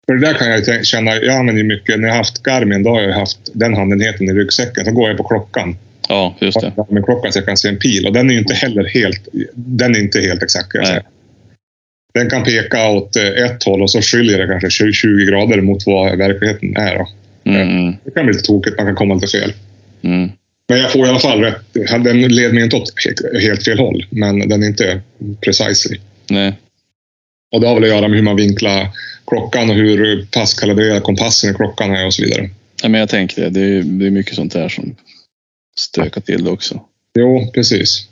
A: För det där kan jag ju tän- känna, jag använder ju mycket, när jag har haft Garmin, då har jag haft den handenheten i ryggsäcken. Så går jag på klockan.
B: Ja, just det.
A: Med klockan så jag kan se en pil. Och den är ju inte heller helt, den är inte helt exakt. kan jag
B: Nej.
A: säga. Den kan peka åt eh, ett håll och så skiljer det kanske 20 20 grader mot vad verkligheten är. Då.
B: Mm, mm,
A: Det kan bli lite tokigt, man kan komma lite fel.
B: mm.
A: Men jag får i alla fall rätt. Den leder mig inte åt he- helt fel håll, men den är inte precisely.
B: Nej.
A: Och det har väl att göra med hur man vinklar klockan och hur pass kalibrerad kompassen i klockan är och så vidare.
B: Ja, men jag tänker det. Det är, ju- det är mycket sånt där som stökar till det också.
A: Jo, precis.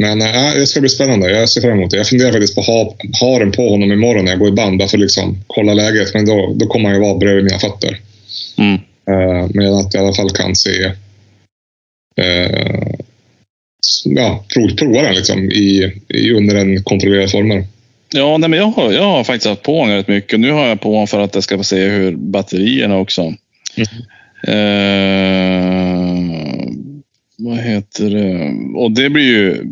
A: Men äh, det ska bli spännande. Jag ser fram emot det. Jag funderar faktiskt på att ha, ha den på honom imorgon när jag går i band. Bara för att liksom kolla läget. Men då, då kommer han ju vara bredvid mina fötter.
B: Mm.
A: Eh, men att jag i alla fall kan se... eh, s- ja, prov, prova den liksom i, i, under en kontrollerad former.
B: Ja, nej, men jag, har, jag har faktiskt haft på honom rätt mycket. Och nu har jag på honom för att jag ska få se hur batterierna också. Eh, vad heter det? Och det blir ju...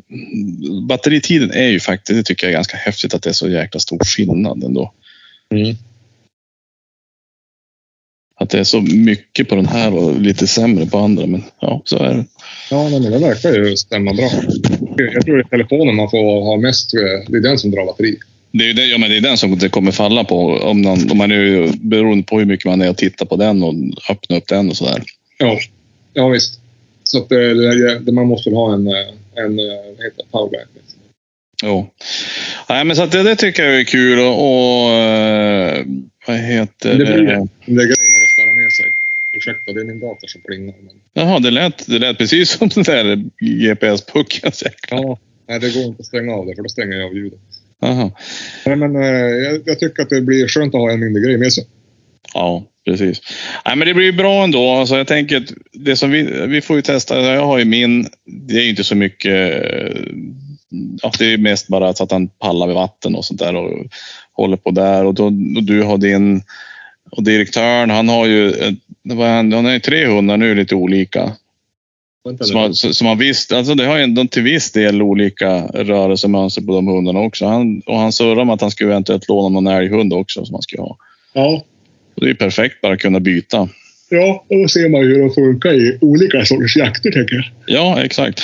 B: Batteritiden är ju faktiskt, det tycker jag är ganska häftigt att det är så jäkla stor skillnad ändå. Att det är så mycket på den här och lite sämre på andra. Men ja, så är det.
A: Ja, nej, men det verkar ju stämma bra. Jag tror det är telefonen man får ha mest. eh, Det är den som drar batteri.
B: Det är, ju det, ja, men det är den som det kommer falla på. Om man, om man nu, beroende på hur mycket man är och tittar på den och öppnar upp den och sådär.
A: Ja, ja visst. Så att, eh, det, det, man måste väl ha en, eh, en eh, vad heter det, powerbank. liksom.
B: Jo. Nej, men så att det, det tycker jag är kul och, och eh, vad heter
A: Det
B: det?
A: blir det. Den där grejen man måste lära med sig. Ursäkta, det är min dator som plingar. Men...
B: Jaha, det lät, det lät precis [LAUGHS] som den där GPS-pucken. säkert.
A: Ja. Nej, det går inte att stänga av det för då stänger jag av ljudet.
B: Jaha.
A: Nej, men eh, jag, jag tycker att det blir skönt att ha en mindre grej med sig.
B: Ja, precis. Nej, men det blir ju bra ändå. Alltså, jag tänker att det som vi, vi får ju testa. Alltså, Jag har ju min. Det är ju inte så mycket. eh, Ja, det är ju mest bara så att han pallar vid vatten och sånt där och håller på där. Och, då, och du har din. Och direktören, han har ju. eh, Vad är han, han har ju tre hundar nu, lite olika.
A: Vänta
B: Som har, som har visst, alltså det har ju ändå till viss del olika rörelsemönster på de hundarna också. Han, och han surrar om att han skulle eventuellt låna någon älghund också som han skulle ha.
A: Ja.
B: Och det är ju perfekt bara att kunna byta.
A: ja, och då ser man ju hur de funkar i olika sorters jakter tänker jag.
B: Ja, exakt.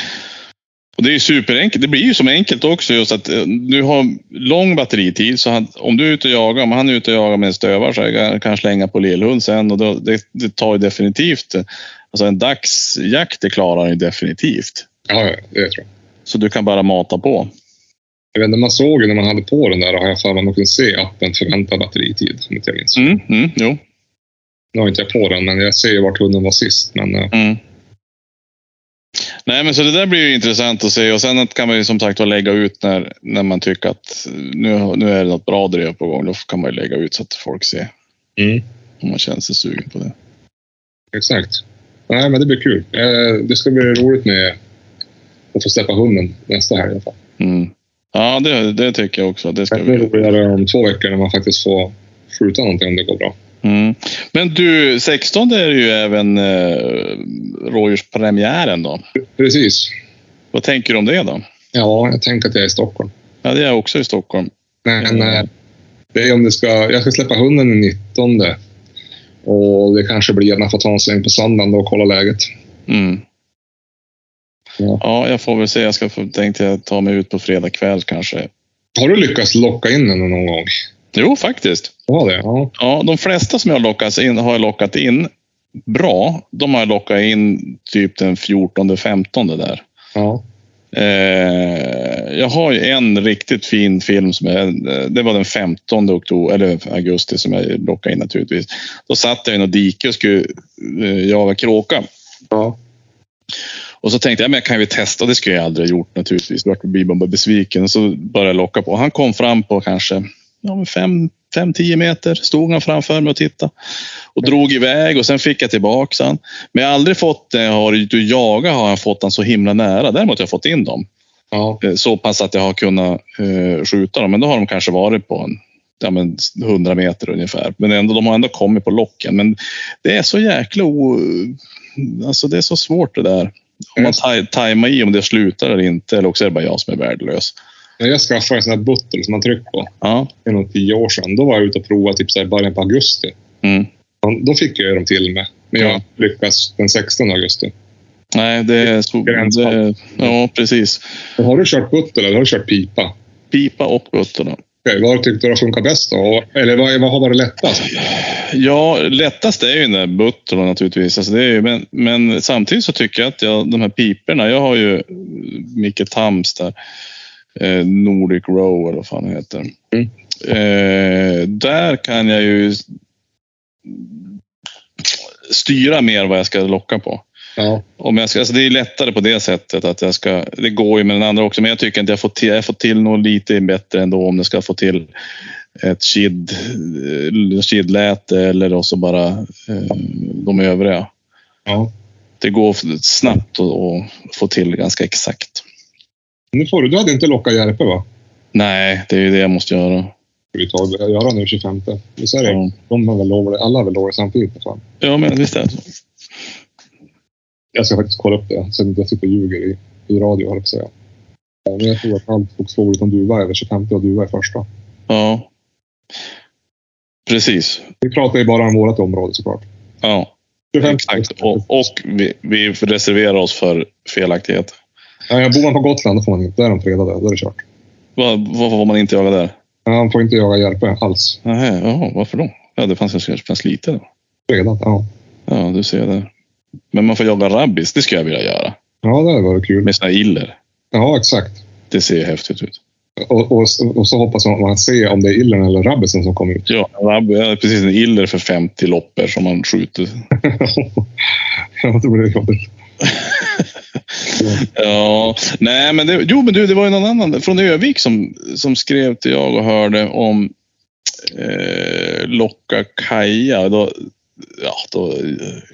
B: Och det är ju superenkelt. Det blir ju som enkelt också just att eh, du har lång batteritid. Så han, om du är ute och jagar, om han är ute och jagar med en stövare så kan kan han slänga på lillhund sen. Och då, det, det tar ju definitivt... eh, Alltså en dagsjakt, det klarar han ju definitivt.
A: Ja, ja, det tror jag.
B: Så du kan bara mata på.
A: Jag vet inte, man såg ju när man hade Mm. på den där, har jag för mig, att man kunde se appen förväntad batteritid. Som inte jag minns.
B: Mm, mm, jo.
A: Nu har inte jag på den, men jag ser ju vart hunden var sist. Men, eh,
B: Mm. Nej, men så det där blir ju intressant att se och sen att kan man ju som sagt var lägga ut när, när man tycker att nu, nu är det något bra drev på gång. Då kan man ju lägga ut så att folk ser
A: Mm.
B: om man känner sig sugen på det.
A: Exakt. Nej, men det blir kul. Eh, det ska bli roligt med att få släppa hunden nästa helg i alla fall.
B: Mm. Ja, det, det tycker jag också. Det ska
A: Det blir
B: vi.
A: roligare om två veckor när man faktiskt får skjuta någonting om det går bra.
B: Mm. Men du, 16 är det ju även eh, rådjurspremiären då.
A: Precis.
B: Vad tänker du om det då?
A: Ja, jag tänker att jag är i Stockholm.
B: Ja, det är också i Stockholm.
A: Men
B: Mm.
A: eh, det är om det ska... Jag ska släppa hunden den 19. Och det kanske blir att man får ta en sväng på söndagen då och kolla läget.
B: Mm.
A: Ja.
B: Ja. jag får väl se. Jag ska få, tänkte jag ta mig ut på fredag kväll kanske.
A: Har du lyckats locka in den någon gång?
B: Jo, faktiskt.
A: Ja, det. Ja.
B: Ja, de flesta som jag har lockat in har jag lockat in bra. De har jag lockat in typ den 14-15 där.
A: ja.
B: Eh, jag har ju en riktigt fin film som jag, eh, det var den 15 oktober, eller augusti som jag lockade in naturligtvis. Då satt jag i något dike och skulle eh, jaga kråka.
A: ja.
B: Och så tänkte jag, men jag kan ju testa. Det skulle jag aldrig ha gjort naturligtvis. Då blir man bara besviken. Och så började jag locka på. Han kom fram på kanske 5-10 meter. Stod han framför mig och tittade. Och drog iväg och sen fick jag tillbaka han. Men jag har aldrig fått, när jag har ut och jagat har jag fått han så himla nära. Däremot har jag fått in dem.
A: ja.
B: eh, Så pass att jag har kunnat eh, skjuta dem. Men då har de kanske varit på en, ja, men 100 meter ungefär. Men ändå, de har ändå kommit på locken. Men det är så jäkla o... Alltså det är så svårt det där. Om man taj- tajmar i om det slutar eller inte. Eller också är det bara jag som är värdelös.
A: När jag skaffade en sån här buttel som man trycker på
B: Ja.
A: för någon tio år sedan, då var jag ute och provade typ så här i början på augusti.
B: Mm.
A: Ja, Då fick jag ju dem till mig. Men jag lyckas den 16 augusti.
B: Nej, det är... Så,
A: Gränsfall.
B: det, ja, precis.
A: Men Har du kört buttel eller har du kört pipa?
B: Pipa och gutterna.
A: Okej, vad tyckte du har funkat bäst då? Eller vad, vad har varit lättast?
B: Ja, lättast är ju den där butterna naturligtvis. Alltså det är ju, men, men samtidigt så tycker jag att jag, de här piperna. Jag har ju eh, Micke Tams där. Eh, Nordic Row eller vad fan han heter.
A: Mm.
B: Eh, där kan jag ju styra mer vad jag ska locka på.
A: Ja,
B: Om jag ska, alltså det är lättare på det sättet. att jag ska, Det går ju med den andra också, men jag tycker att jag får till, jag får till något lite bättre ändå om jag ska få till ett kid, eh, kidläte eller då så bara eh, de övriga.
A: ja.
B: Det går snabbt att att få till ganska exakt.
A: Nu får du. Du hade inte lockat Järpe va?
B: Nej, det är ju det jag måste göra.
A: Vi tar börjar göra nu 25. Visst är det?
B: Ja,
A: De har väl lov det. Alla har väl lov det samtidigt. för Fan.
B: ja men visst är det så.
A: Jag ska faktiskt kolla upp det så att jag inte sitter och ljuger i, i radio, höll jag på att säga. Ja, Men jag tror att allt skogsfågel utom duva är över 25 och duva är första.
B: Ja. Precis.
A: Vi pratar ju bara om vårt område såklart.
B: Ja,
A: 25.
B: exakt. Och, och vi, vi reserverar oss för felaktighet.
A: Ja, jag bor man på Gotland, då får man inte. Där är de fredade. Då är det kört.
B: Vad- Varför får man inte jaga där?
A: Ja, Man får inte jaga järpe alls.
B: Nähä, jaha, varför då? Ja, det fanns kanske fanns lite då.
A: Fredat, ja.
B: Ja, du ser det. Men man får jaga rabbis, det skulle jag vilja göra.
A: Ja, det hade varit kul.
B: Med såna här iller.
A: Ja, exakt.
B: Det ser ju häftigt ut.
A: Och, och, och så hoppas man att man ser om det är illen eller rabbisen som kommer ut. [LAUGHS]
B: Ja, rabb, ja, precis. En iller för 50 loppor som man skjuter.
A: ja, det blir jobbigt.
B: Ja, nej men det, jo men du, det var ju någon annan från Övik som, som skrev till jag och hörde om eh, Locka Kaja. Då, ja, då eh,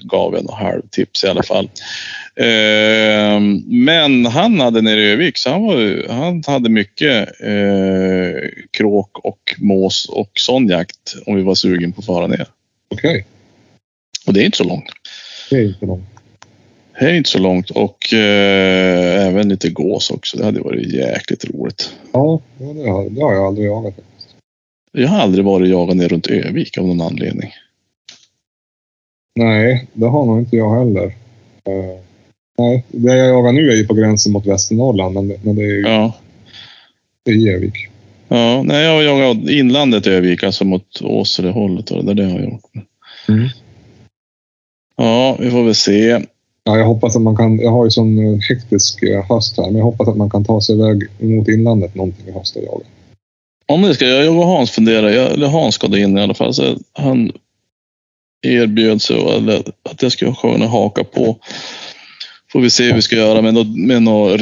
B: gav jag några halvtips i alla fall. Eh, men han hade nere i Övik, så han, var, ju- han hade mycket eh, kråk och mås och sån jakt om vi var sugen på att fara ner.
A: Okej,
B: Och det är inte så långt.
A: det är inte långt.
B: Det är inte så långt och eh, även lite gås också. Det hade varit jäkligt roligt.
A: Ja, ja, det har, det har jag aldrig jagat.
B: Jag har aldrig varit jagande runt Övik av någon anledning.
A: Nej, det har nog inte jag heller. Eh, nej, det jag jagar nu är ju på gränsen mot Västernorrland, men, men det är ju
B: Ja.
A: det är i Gevik.
B: ja nej, jag har jagat inlandet i Övik, alltså mot Åselehållet och det där det har jag gjort.
A: Mm.
B: Ja, vi får väl se.
A: Ja, jag hoppas att man kan. Jag har ju sån eh, hektisk eh, höst här, men jag hoppas att man kan ta sig iväg mot inlandet någonting i höst och jaga.
B: Om det ska jag, jag och Hans fundera, jag, eller Hans ska det in i alla fall. Så han erbjöd sig och eller att jag skulle kunna haka på. Får vi se hur vi ska göra med någon, med någon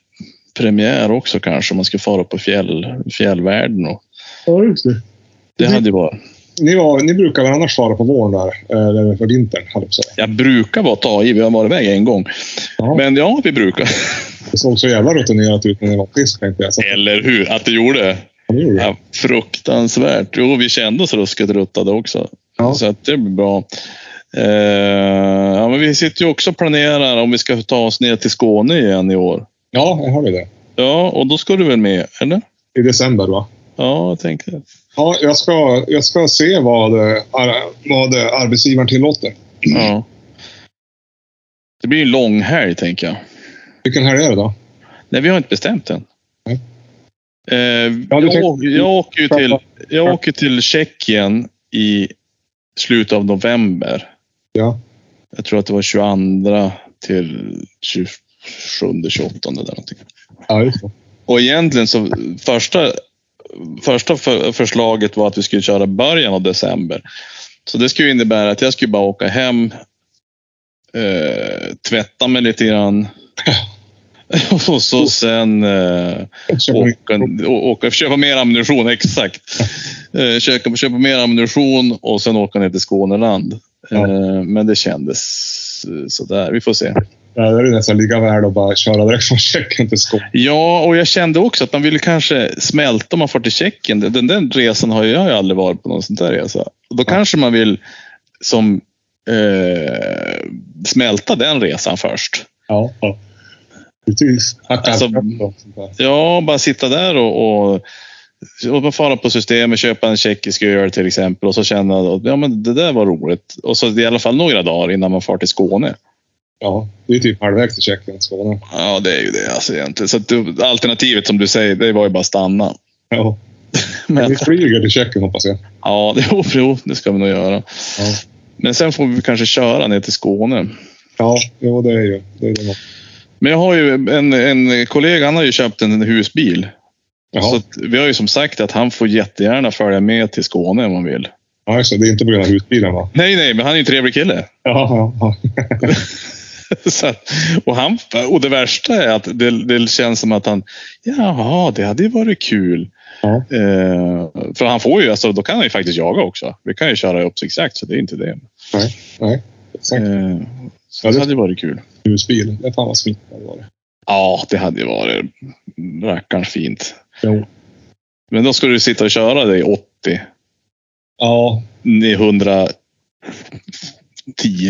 B: RIP-premiär också kanske. Om man ska fara upp på fjäll, fjällvärlden. Och
A: Ja, just det.
B: det hade ju varit...
A: Ni, var, ni brukar väl annars fara på våren där? eh, Eller för vintern, höll jag på att säga.
B: Jag brukar vara ta i, vi har varit iväg en gång.
A: Ja.
B: Men ja, vi brukar. [LAUGHS]
A: Det såg så jävla rutinerat ut när ni var frisk, tänkte jag. Så
B: Eller hur? Att det gjorde det.
A: ni gjorde det.
B: Ja, fruktansvärt. Jo, vi kände oss ruskigt ruttade också.
A: Ja.
B: Så att det blir bra. Eh, ja, men vi sitter ju också och planerar om vi ska ta oss ner till Skåne igen i år.
A: Ja, jag hörde det.
B: Ja, och då ska du väl med, eller?
A: I december, va?
B: Ja, jag tänker det.
A: Ja, jag ska, jag ska se vad, eh, ar, vad eh, arbetsgivaren tillåter.
B: Ja. Det blir en lång helg, tänker jag.
A: Vilken helg är det då?
B: Nej, vi har inte bestämt än.
A: Nej.
B: Eh,
A: du
B: jag,
A: tänkte-
B: å- jag åker ju till, jag åker till Tjeckien i slutet av november.
A: Ja.
B: Jag tror att det var 22 till 27, 28 eller någonting.
A: Ja, just det.
B: Och egentligen så första, första för, förslaget var att vi skulle köra början av december. Så det skulle ju innebära att jag skulle bara åka hem, eh, tvätta mig lite
A: [LAUGHS]
B: grann. [LAUGHS] Och så sen eh, åka, å- åka, köpa mer ammunition, exakt. Eh, köpa, köpa mer ammunition och sen åka ner till Skåneland.
A: Ja.
B: Eh, men det kändes eh, sådär. Vi får se.
A: Ja, Det är nästan lika väl att bara köra direkt från Tjeckien till Skåne.
B: Ja, och jag kände också att man ville kanske smälta om man får till Tjeckien. Den, den resan har jag ju aldrig varit på någon sån där resa. Då kanske man vill som eh, smälta den resan först.
A: Ja. ja. Precis. Hacka
B: Alltså-
A: hacka och sånt där.
B: Ja, bara sitta där och, och, och bara fara på systemet, köpa en tjeckisk öl till exempel och så känna att ja, men det där var roligt. Och så i alla fall några dagar innan man far till Skåne.
A: Ja, det är typ halvvägs till Tjeckien, Skåne.
B: Ja, det är ju det alltså egentligen. Så att du, alternativet som du säger, det var ju bara att stanna.
A: Ja.
B: Men,
A: Vi flyger till Tjeckien hoppas jag.
B: [LAUGHS] ja, det, jo, jo, det ska vi nog göra.
A: Ja.
B: Men sen får vi kanske köra ner till Skåne.
A: Ja, jo, det är ju det. Är det man-
B: Men jag har ju en, en kollega, han har ju köpt en husbil. Så
A: Jaha.
B: att vi har ju som sagt att han får jättegärna följa med till Skåne om han vill.
A: Ja, just det. Det är inte på grund av husbilen, va?
B: Nej, nej, men han är ju en trevlig kille.
A: Ja, ja, ja.
B: Så att, och, han, och det värsta är att det, det känns som att han, jaha, det hade ju varit kul.
A: Ja.
B: Eh, för han får ju, alltså, då kan han ju faktiskt jaga också. Vi kan ju köra upp exakt så det är inte det.
A: Nej, nej. Exakt.
B: Eh, så
A: Ja,
B: det
A: det-
B: hade ju varit kul.
A: Husbil. Det är fan vad fint det hade varit.
B: Ja, det hade ju varit rackarns fint.
A: Jo.
B: Men då ska du sitta och köra dig 80,
A: Ja.
B: nej, 110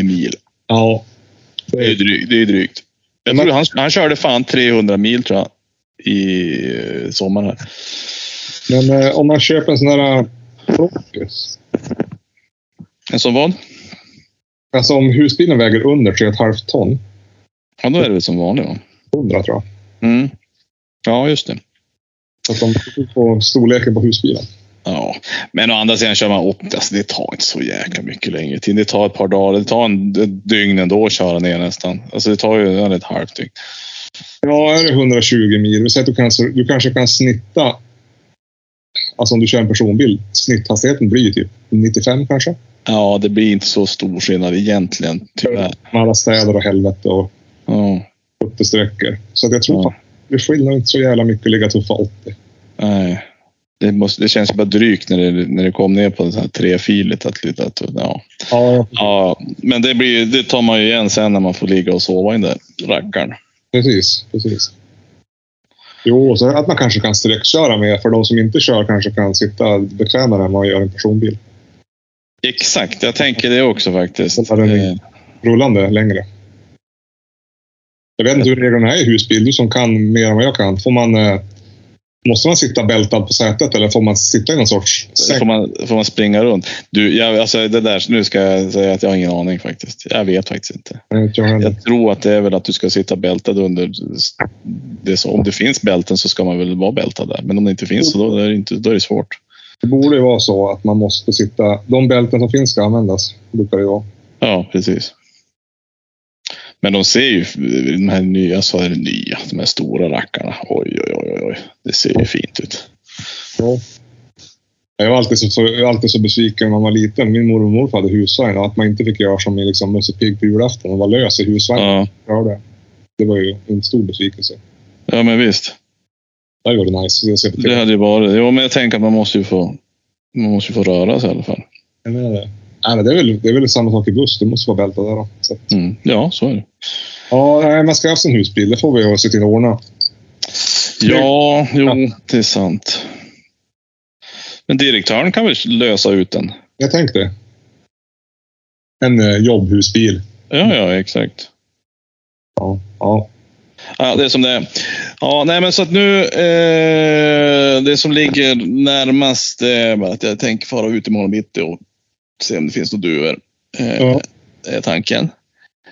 B: mil.
A: Ja.
B: Det är ju drygt. Det är drygt. Jag
A: Men-
B: tror han, han körde fan 300 mil tror jag i eh, sommar. Här.
A: Men eh, om man köper en sån där Focus.
B: En sån vad?
A: Alltså om husbilen väger under 3,5 ton.
B: Ja, då är det väl som vanligt va?
A: 100 tror jag.
B: Mm. Ja, just det.
A: Så att de tittar på storleken på husbilen.
B: Ja, men å andra sidan kör man 80. Alltså, det tar inte så jäkla mycket längre tid. Det tar ett par dagar. Det tar en ett dygn ändå att köra ner nästan. Alltså det tar ju ja, ett halvt dygn.
A: Ja, är det 120 mil. Vi säger att du, kanske, du kanske kan snitta. Alltså om du kör en personbil. Snitthastigheten blir ju typ 95 kanske.
B: Ja, det blir inte så stor skillnad egentligen, tyvärr.
A: Med alla städer och helvete och
B: Ja,
A: uppförssträckor. Så att jag tror
B: Ja.
A: fan, det skiljer inte så jävla mycket att ligga tuffa 80.
B: nej. Det, måste, det känns bara drygt när det, när det kom ner på det här trefilet. Att, lite att, ja.
A: Ja,
B: Ja, men det, blir, ju- det tar man ju igen sen när man får ligga och sova i den där rackaren.
A: Precis, precis. Jo, och så att man kanske kan sträckköra med. För de som inte kör kanske kan sitta bekvämare än man gör i en personbil.
B: Exakt, jag tänker det också
A: Den
B: faktiskt.
A: tar den
B: Eh,
A: in. Rullande längre. Jag vet inte hur reglerna är i husbil. Du som kan mer än vad jag kan. Får man, eh, måste man sitta bältad på sätet eller får man sitta i någon sorts
B: Så Får
A: säng?
B: man, får man springa runt? Du, jag, alltså det där, nu ska jag säga att jag har ingen aning faktiskt. Jag vet faktiskt inte.
A: Nej, jag vet inte.
B: Jag tror att det är väl att du ska sitta bältad under... Det, som- om det finns bälten så ska man väl vara bältad där. Men om det inte finns så då är det, inte, då är det svårt.
A: Det borde ju vara så att man måste sitta... De bälten som finns ska användas. Brukar det ju vara.
B: Ja, precis. Men de ser ju de här nya, så är det nya, de här stora rackarna. Oj, oj, oj, oj, oj. Det ser ju fint ut.
A: Jag var alltid så, så, alltid så besviken när man var liten. Min mormor och morfar hade husvagn. Att man inte fick göra som i liksom, Musse Pigg på julafton och vara lös i husvagnen.
B: Ja.
A: Ja. Det. det var ju en stor besvikelse.
B: ja, men visst.
A: Det hade varit nice. Jag ser på
B: Det
A: det...
B: hade ju varit. Jo, men jag tänker att man måste ju få, man måste ju få röra sig i alla fall.
A: Jag menar det. Nej, men det, är väl, det är väl samma sak i buss. Det måste vara bältad där. Då. Så. att-
B: Mm. Ja, så är det.
A: Ja, nej, man ska ha haft en husbil. Det får vi se till att ordna.
B: Ja, jo, det är sant. Men direktören kan väl lösa ut den?
A: Jag tänkte det. En eh, jobbhusbil.
B: Ja, ja, exakt.
A: Ja. ja.
B: Ja, det är som det är. Ja, nej, men så att nu... Eh, det som ligger närmast är bara att jag tänker fara ut imorgon bitti och se om det finns några duvor. Eh,
A: Ja.
B: Är tanken.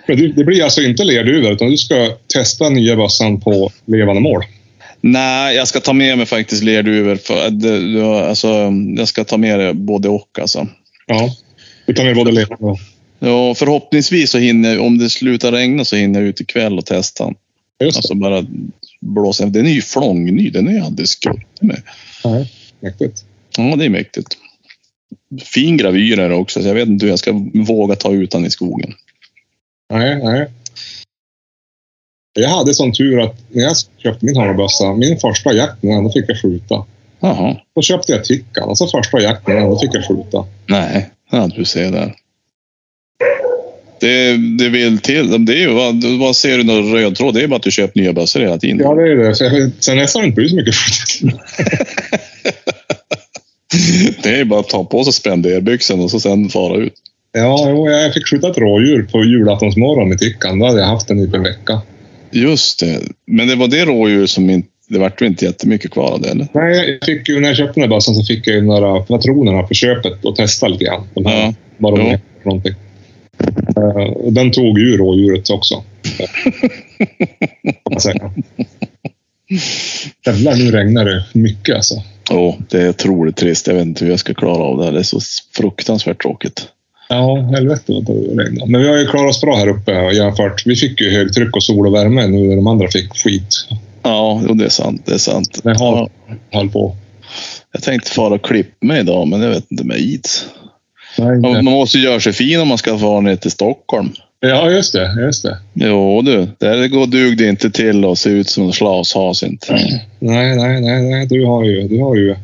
A: Men det, det blir alltså inte lerduvor, utan du ska testa nya bössan på levande mål.
B: Nej, jag ska ta med mig faktiskt lerduvor. För, att det- det var- alltså, jag ska ta med det både och. Alltså.
A: Ja. Du tar med både levande och...
B: Ja, förhoppningsvis så hinner jag, om det slutar regna så hinner jag ut ikväll och testa den.
A: Just det.
B: Alltså bara blåsa. Den är ju flångny. Den är ju aldrig skutt med.
A: Mäktigt.
B: Ja, det är mäktigt. Fin gravyr är det också, så jag vet inte hur jag ska våga ta ut den i skogen.
A: Nej, nej. Jag hade sån tur att när jag köpte min hammarbössa, min första jakt med den, då fick jag skjuta.
B: Jaha.
A: Då köpte jag Tickan och så första jakt med den, då fick jag skjuta.
B: Nej, ja, du ser där. Det, det vill till. Det är ju, vad, vad ser du någon röd tråd? Det är bara att du köper nya bössor hela tiden.
A: Ja, det är det. Så jag, sen dess har jag inte blivit så mycket skjutit.
B: [LAUGHS]
A: [LAUGHS]
B: Det är bara att ta på sig spenderbyxan och så sen fara ut.
A: Ja, jo, jag fick skjuta ett rådjur på julaftonsmorgon med Tickan. Då hade jag haft den i typ en vecka.
B: Just det. Men det var det rådjur som inte... Det vart ju inte jättemycket kvar av det, eller?
A: Nej, jag fick ju, när jag köpte den här bössan så fick jag ju några patronerna på köpet och testa lite grann. De här
B: Ja.
A: vad de
B: Jo.
A: heter för någonting. Eh, och den tog ju
B: [LAUGHS]
A: rådjuret också. kan man säga. Jävlar, nu regnar det mycket alltså.
B: Ja, det är otroligt trist. Jag vet inte hur jag ska klara av det här. Det är så fruktansvärt tråkigt.
A: Ja, helvete vad det regnar. Men vi har ju klarat oss bra här uppe jämfört. Vi fick ju högtryck och sol och värme nu när de andra fick skit.
B: Ja, jo, det är sant. Det är sant.
A: Men har-
B: Ja,
A: Höll på.
B: jag tänkte fara och klippa mig idag, men jag vet inte med it.
A: Nej,
B: Man,
A: nej.
B: man måste ju göra sig fin om man ska fara ner till Stockholm.
A: Ja, just det. Just det.
B: Jo du, där går dug det inte till att se ut som en slashas inte.
A: Nej, nej, nej, nej. Du har ju... Du, har ju,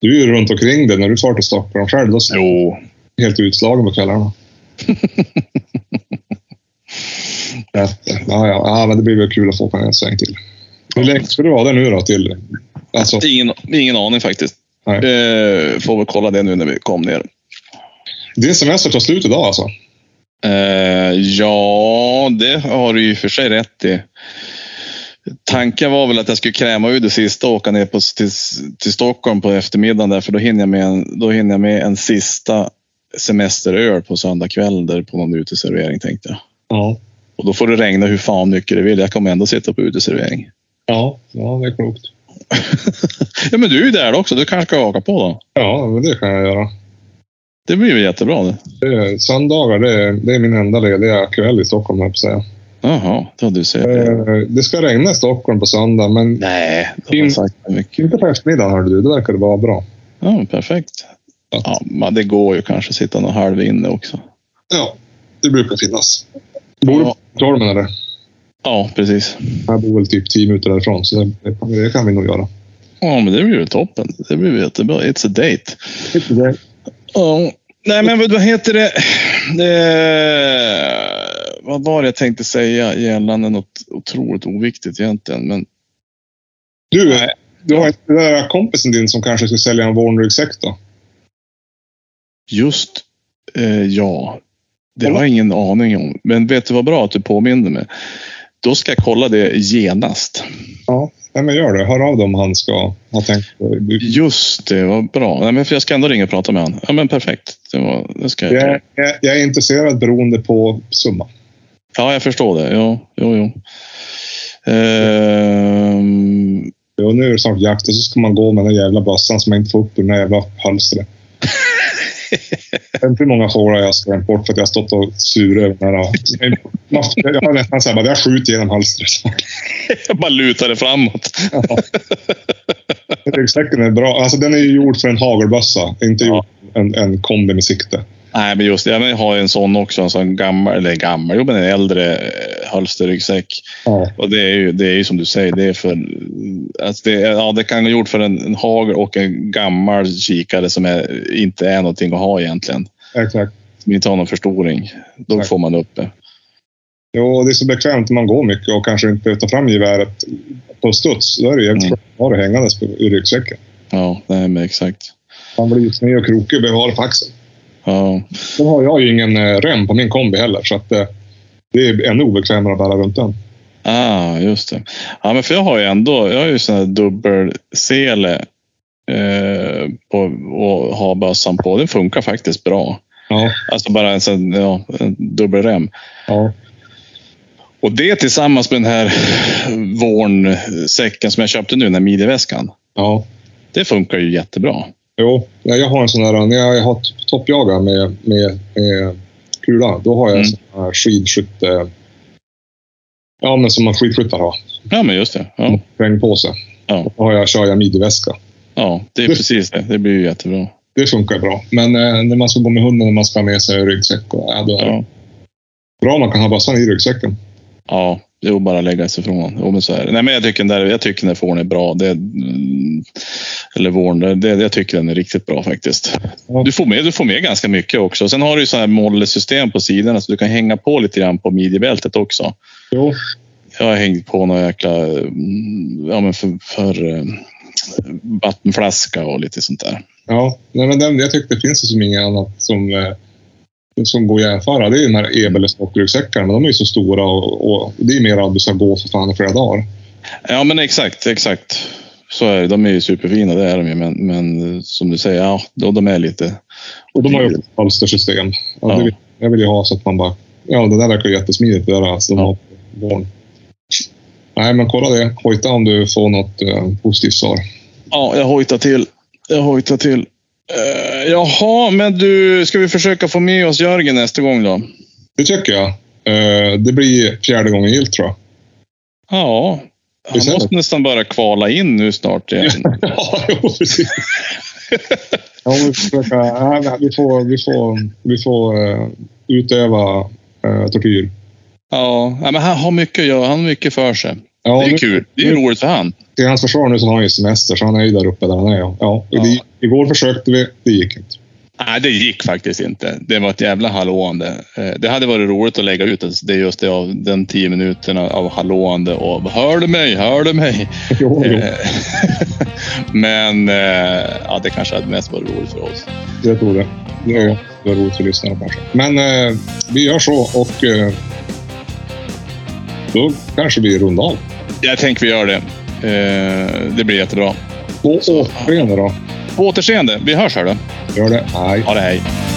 A: du är ju runt omkring det när du far till Stockholm själv. Då är
B: Jo.
A: du helt utslagen på [LAUGHS] kvällarna. ja, ja, ja, ja, men det blir väl kul att få åka en sväng till. Hur länge ska du vara där nu då? Till, alltså,
B: Ingen, ingen aning faktiskt.
A: Nej.
B: Eh, får väl kolla det nu när vi kom ner.
A: din semester tar slut idag alltså?
B: Eh, ja, det har du ju för sig rätt i. Tanken var väl att jag skulle kräma ur det sista och åka ner på, till, till Stockholm på eftermiddagen där, för då hinner jag med en, då hinner jag med en sista semesteröl på söndag kväll där på någon uteservering tänkte jag.
A: Ja.
B: Och då får det regna hur fan mycket det vill. Jag kommer ändå sitta på uteservering. [LAUGHS]
A: Ja, ja det är klokt.
B: ja, men du är ju där också. Du kanske ska haka på då.
A: Ja, men det kan jag göra.
B: Det blir väl jättebra det.
A: Det är, söndagar, det är, det är min enda lediga kväll i Stockholm, höll jag på att säga.
B: Jaha, då du ser.
A: Eh, Det ska regna i Stockholm på söndag, men
B: Nej, det har jag sagt för mycket.
A: inte på eftermiddagen, hörde du. Det verkade vara bra.
B: Ja, perfekt. Ja, men det går ju kanske att sitta någon halv inne också.
A: Ja, det brukar finnas. Bor du på Tormen eller?
B: Ja, precis.
A: Jag bor väl typ tio minuter därifrån, så det, det kan vi nog göra.
B: Ja, men det blir ju toppen. Det blir ju jättebra. It's a date. Ja. Nej, men vad vad heter det? Eh, vad var det jag tänkte säga gällande något otroligt oviktigt egentligen? Men
A: Du, eh, du har inte den där kompisen din som kanske skulle sälja en Warnrygg-säck då?
B: Just eh, ja. Det har jag ingen aning om. Men vet du vad bra att du påminner mig? Då ska jag kolla det genast.
A: Ja. Nej, men gör det. Hör av dig om han ska ha tänkt.
B: Just det, vad bra. Nej, men för jag ska ändå ringa och prata med honom. Ja, men perfekt. Det, var, det ska jag
A: Jag,
B: göra.
A: jag, jag är intresserad beroende på summa.
B: Ja, jag förstår det. Jo, jo, jo. Ehm,
A: Och nu är det snart jakt och så ska man gå med den där jävla bössan som man inte får upp ur den där jävla halsret. Jag vet inte hur många fåglar jag har skrämt bort för att jag har stått och surat över den här. Man- Jag har nästan såhär, bara, jag skjuter genom halsret.
B: jag bara lutar det framåt.
A: Ryggsäcken är bra. Alltså den är ju gjord för en hagelbössa. Inte
B: Ja.
A: gjord för en, en kombi med sikte.
B: Nej, men just det. Jag har ju en sån också. En sån gammal, eller gammal, jo men en äldre eh, hölsterryggsäck.
A: Ja.
B: Och det är ju, det är ju som du säger, det är för... Alltså det, är- ja, det kan ha gjort för en, en hagel och en gammal kikare som är, inte är någonting att ha egentligen.
A: Exakt.
B: Som inte har någon förstoring. Då
A: Exakt.
B: får man upp det.
A: Jo, det är så bekvämt när man går mycket och kanske inte tar fram geväret på studs. Då är det jävligt
B: Mm.
A: skönt att ha det hängandes på, i ryggsäcken.
B: Ja, nej, men exakt.
A: Man blir ju sned och krokig och behöver ha det på axeln.
B: Ja,
A: Sen har jag ju ingen eh, rem på min kombi heller, så att, eh, det är ännu obekvämare att bära runt den.
B: ah, just det. Ja, men för jag har ju ändå, jag har ju sån här dubbelsele eh, på, och har bössan på. Den funkar faktiskt bra.
A: Ja.
B: Alltså bara en sån, ja, en dubbelrem.
A: ja.
B: Och det tillsammans med den här vårnsäcken som jag köpte nu, den här midjeväskan.
A: ja.
B: Det funkar ju jättebra.
A: Jo, ja, jag har en sån här, när jag har toppjagar med, med, med kula, då har jag
B: Mm.
A: en sån här skidskytte... Ja, men som man skidskyttar har.
B: Ja, men just det. Ja,
A: Regnpåse.
B: Ja.
A: Då har jag, kör jag midjeväska.
B: ja det är precis det. Det blir ju jättebra.
A: Det funkar bra. Men eh, när man ska gå med hunden och man ska ha med sig ryggsäck. Och, ja, då är det
B: Ja,
A: bra om man kan ha bössan i ryggsäcken.
B: ja det är ju bara att lägga sig ifrån. Jo, men så är det. Nej, men jag tycker den där, jag tycker den där fåren är bra. Det, mm, eller våren, det, det, jag tycker den är riktigt bra faktiskt.
A: Ja.
B: Du, får med, du får med ganska mycket också. Sen har du ju så här mollesystem på sidorna så du kan hänga på lite grann på midjebältet också.
A: Jo.
B: Jag har hängt på några jäkla mm, ja, men för, för eh, vattenflaska och lite sånt där.
A: Ja, nej, men den, jag tyckte det finns ju som inget annat som, eh, som går att jämföra. Det är ju de här Ebel och stockryggsäckarna. Men de är ju så stora och, och det är mer att du ska gå för fan i flera dagar.
B: Ja, men exakt, exakt. Så är det. De är ju superfina, det är de ju. Men, men eh, som du säger, ja, de, de är lite...
A: Och de har ju också halstersystem. Ja,
B: Mm. Ja.
A: Det vill, jag vill ju ha så att man bara... Ja, det där verkar ju jättesmidigt. Det där alltså, de
B: Ja.
A: har på barn. Nej, men kolla det. Hojta om du får något eh, positivt svar.
B: Ja, jag hojtar till. Jag hojtar till. Eh, jaha, men du, ska vi försöka få med oss Jörgen nästa gång då?
A: Det tycker jag. Eh, det blir fjärde gången gillt tror jag.
B: Ja, han
A: Precis.
B: måste nästan bara kvala in nu snart igen.
A: Ja, jo, precis. ja, vi, får försöka, nej, men vi får, vi får, vi får eh, utöva eh, tortyr.
B: Ja, ja, men han har mycket att göra. Han har mycket för sig.
A: Ja,
B: det är
A: nu-
B: kul. Det är roligt för han.
A: Till hans försvar nu så har han ju semester, så han är ju där uppe där han är. Ja, ja. och Det,
B: Ja.
A: igår försökte vi. Det gick inte. [LAUGHS]
B: Nej, det gick faktiskt inte. Det var ett jävla hallåande. Eh, Det hade varit roligt att lägga ut det- det är just det av den tio minuterna av hallåande och hör du mig, hör du mig?
A: Jo, jo.
B: Eh, [LAUGHS] Men eh, ja, det kanske hade mest varit roligt för oss.
A: Jag tror det. Det var, ju- det var roligt för lyssnarna kanske. Men eh, vi gör så och eh, då kanske vi rundar av.
B: Jag tänker vi gör det. Eh, Det blir jättebra.
A: På återseende då.
B: På återseende. Vi hörs här då.
A: Gör det. Hej.
B: Ha det hej.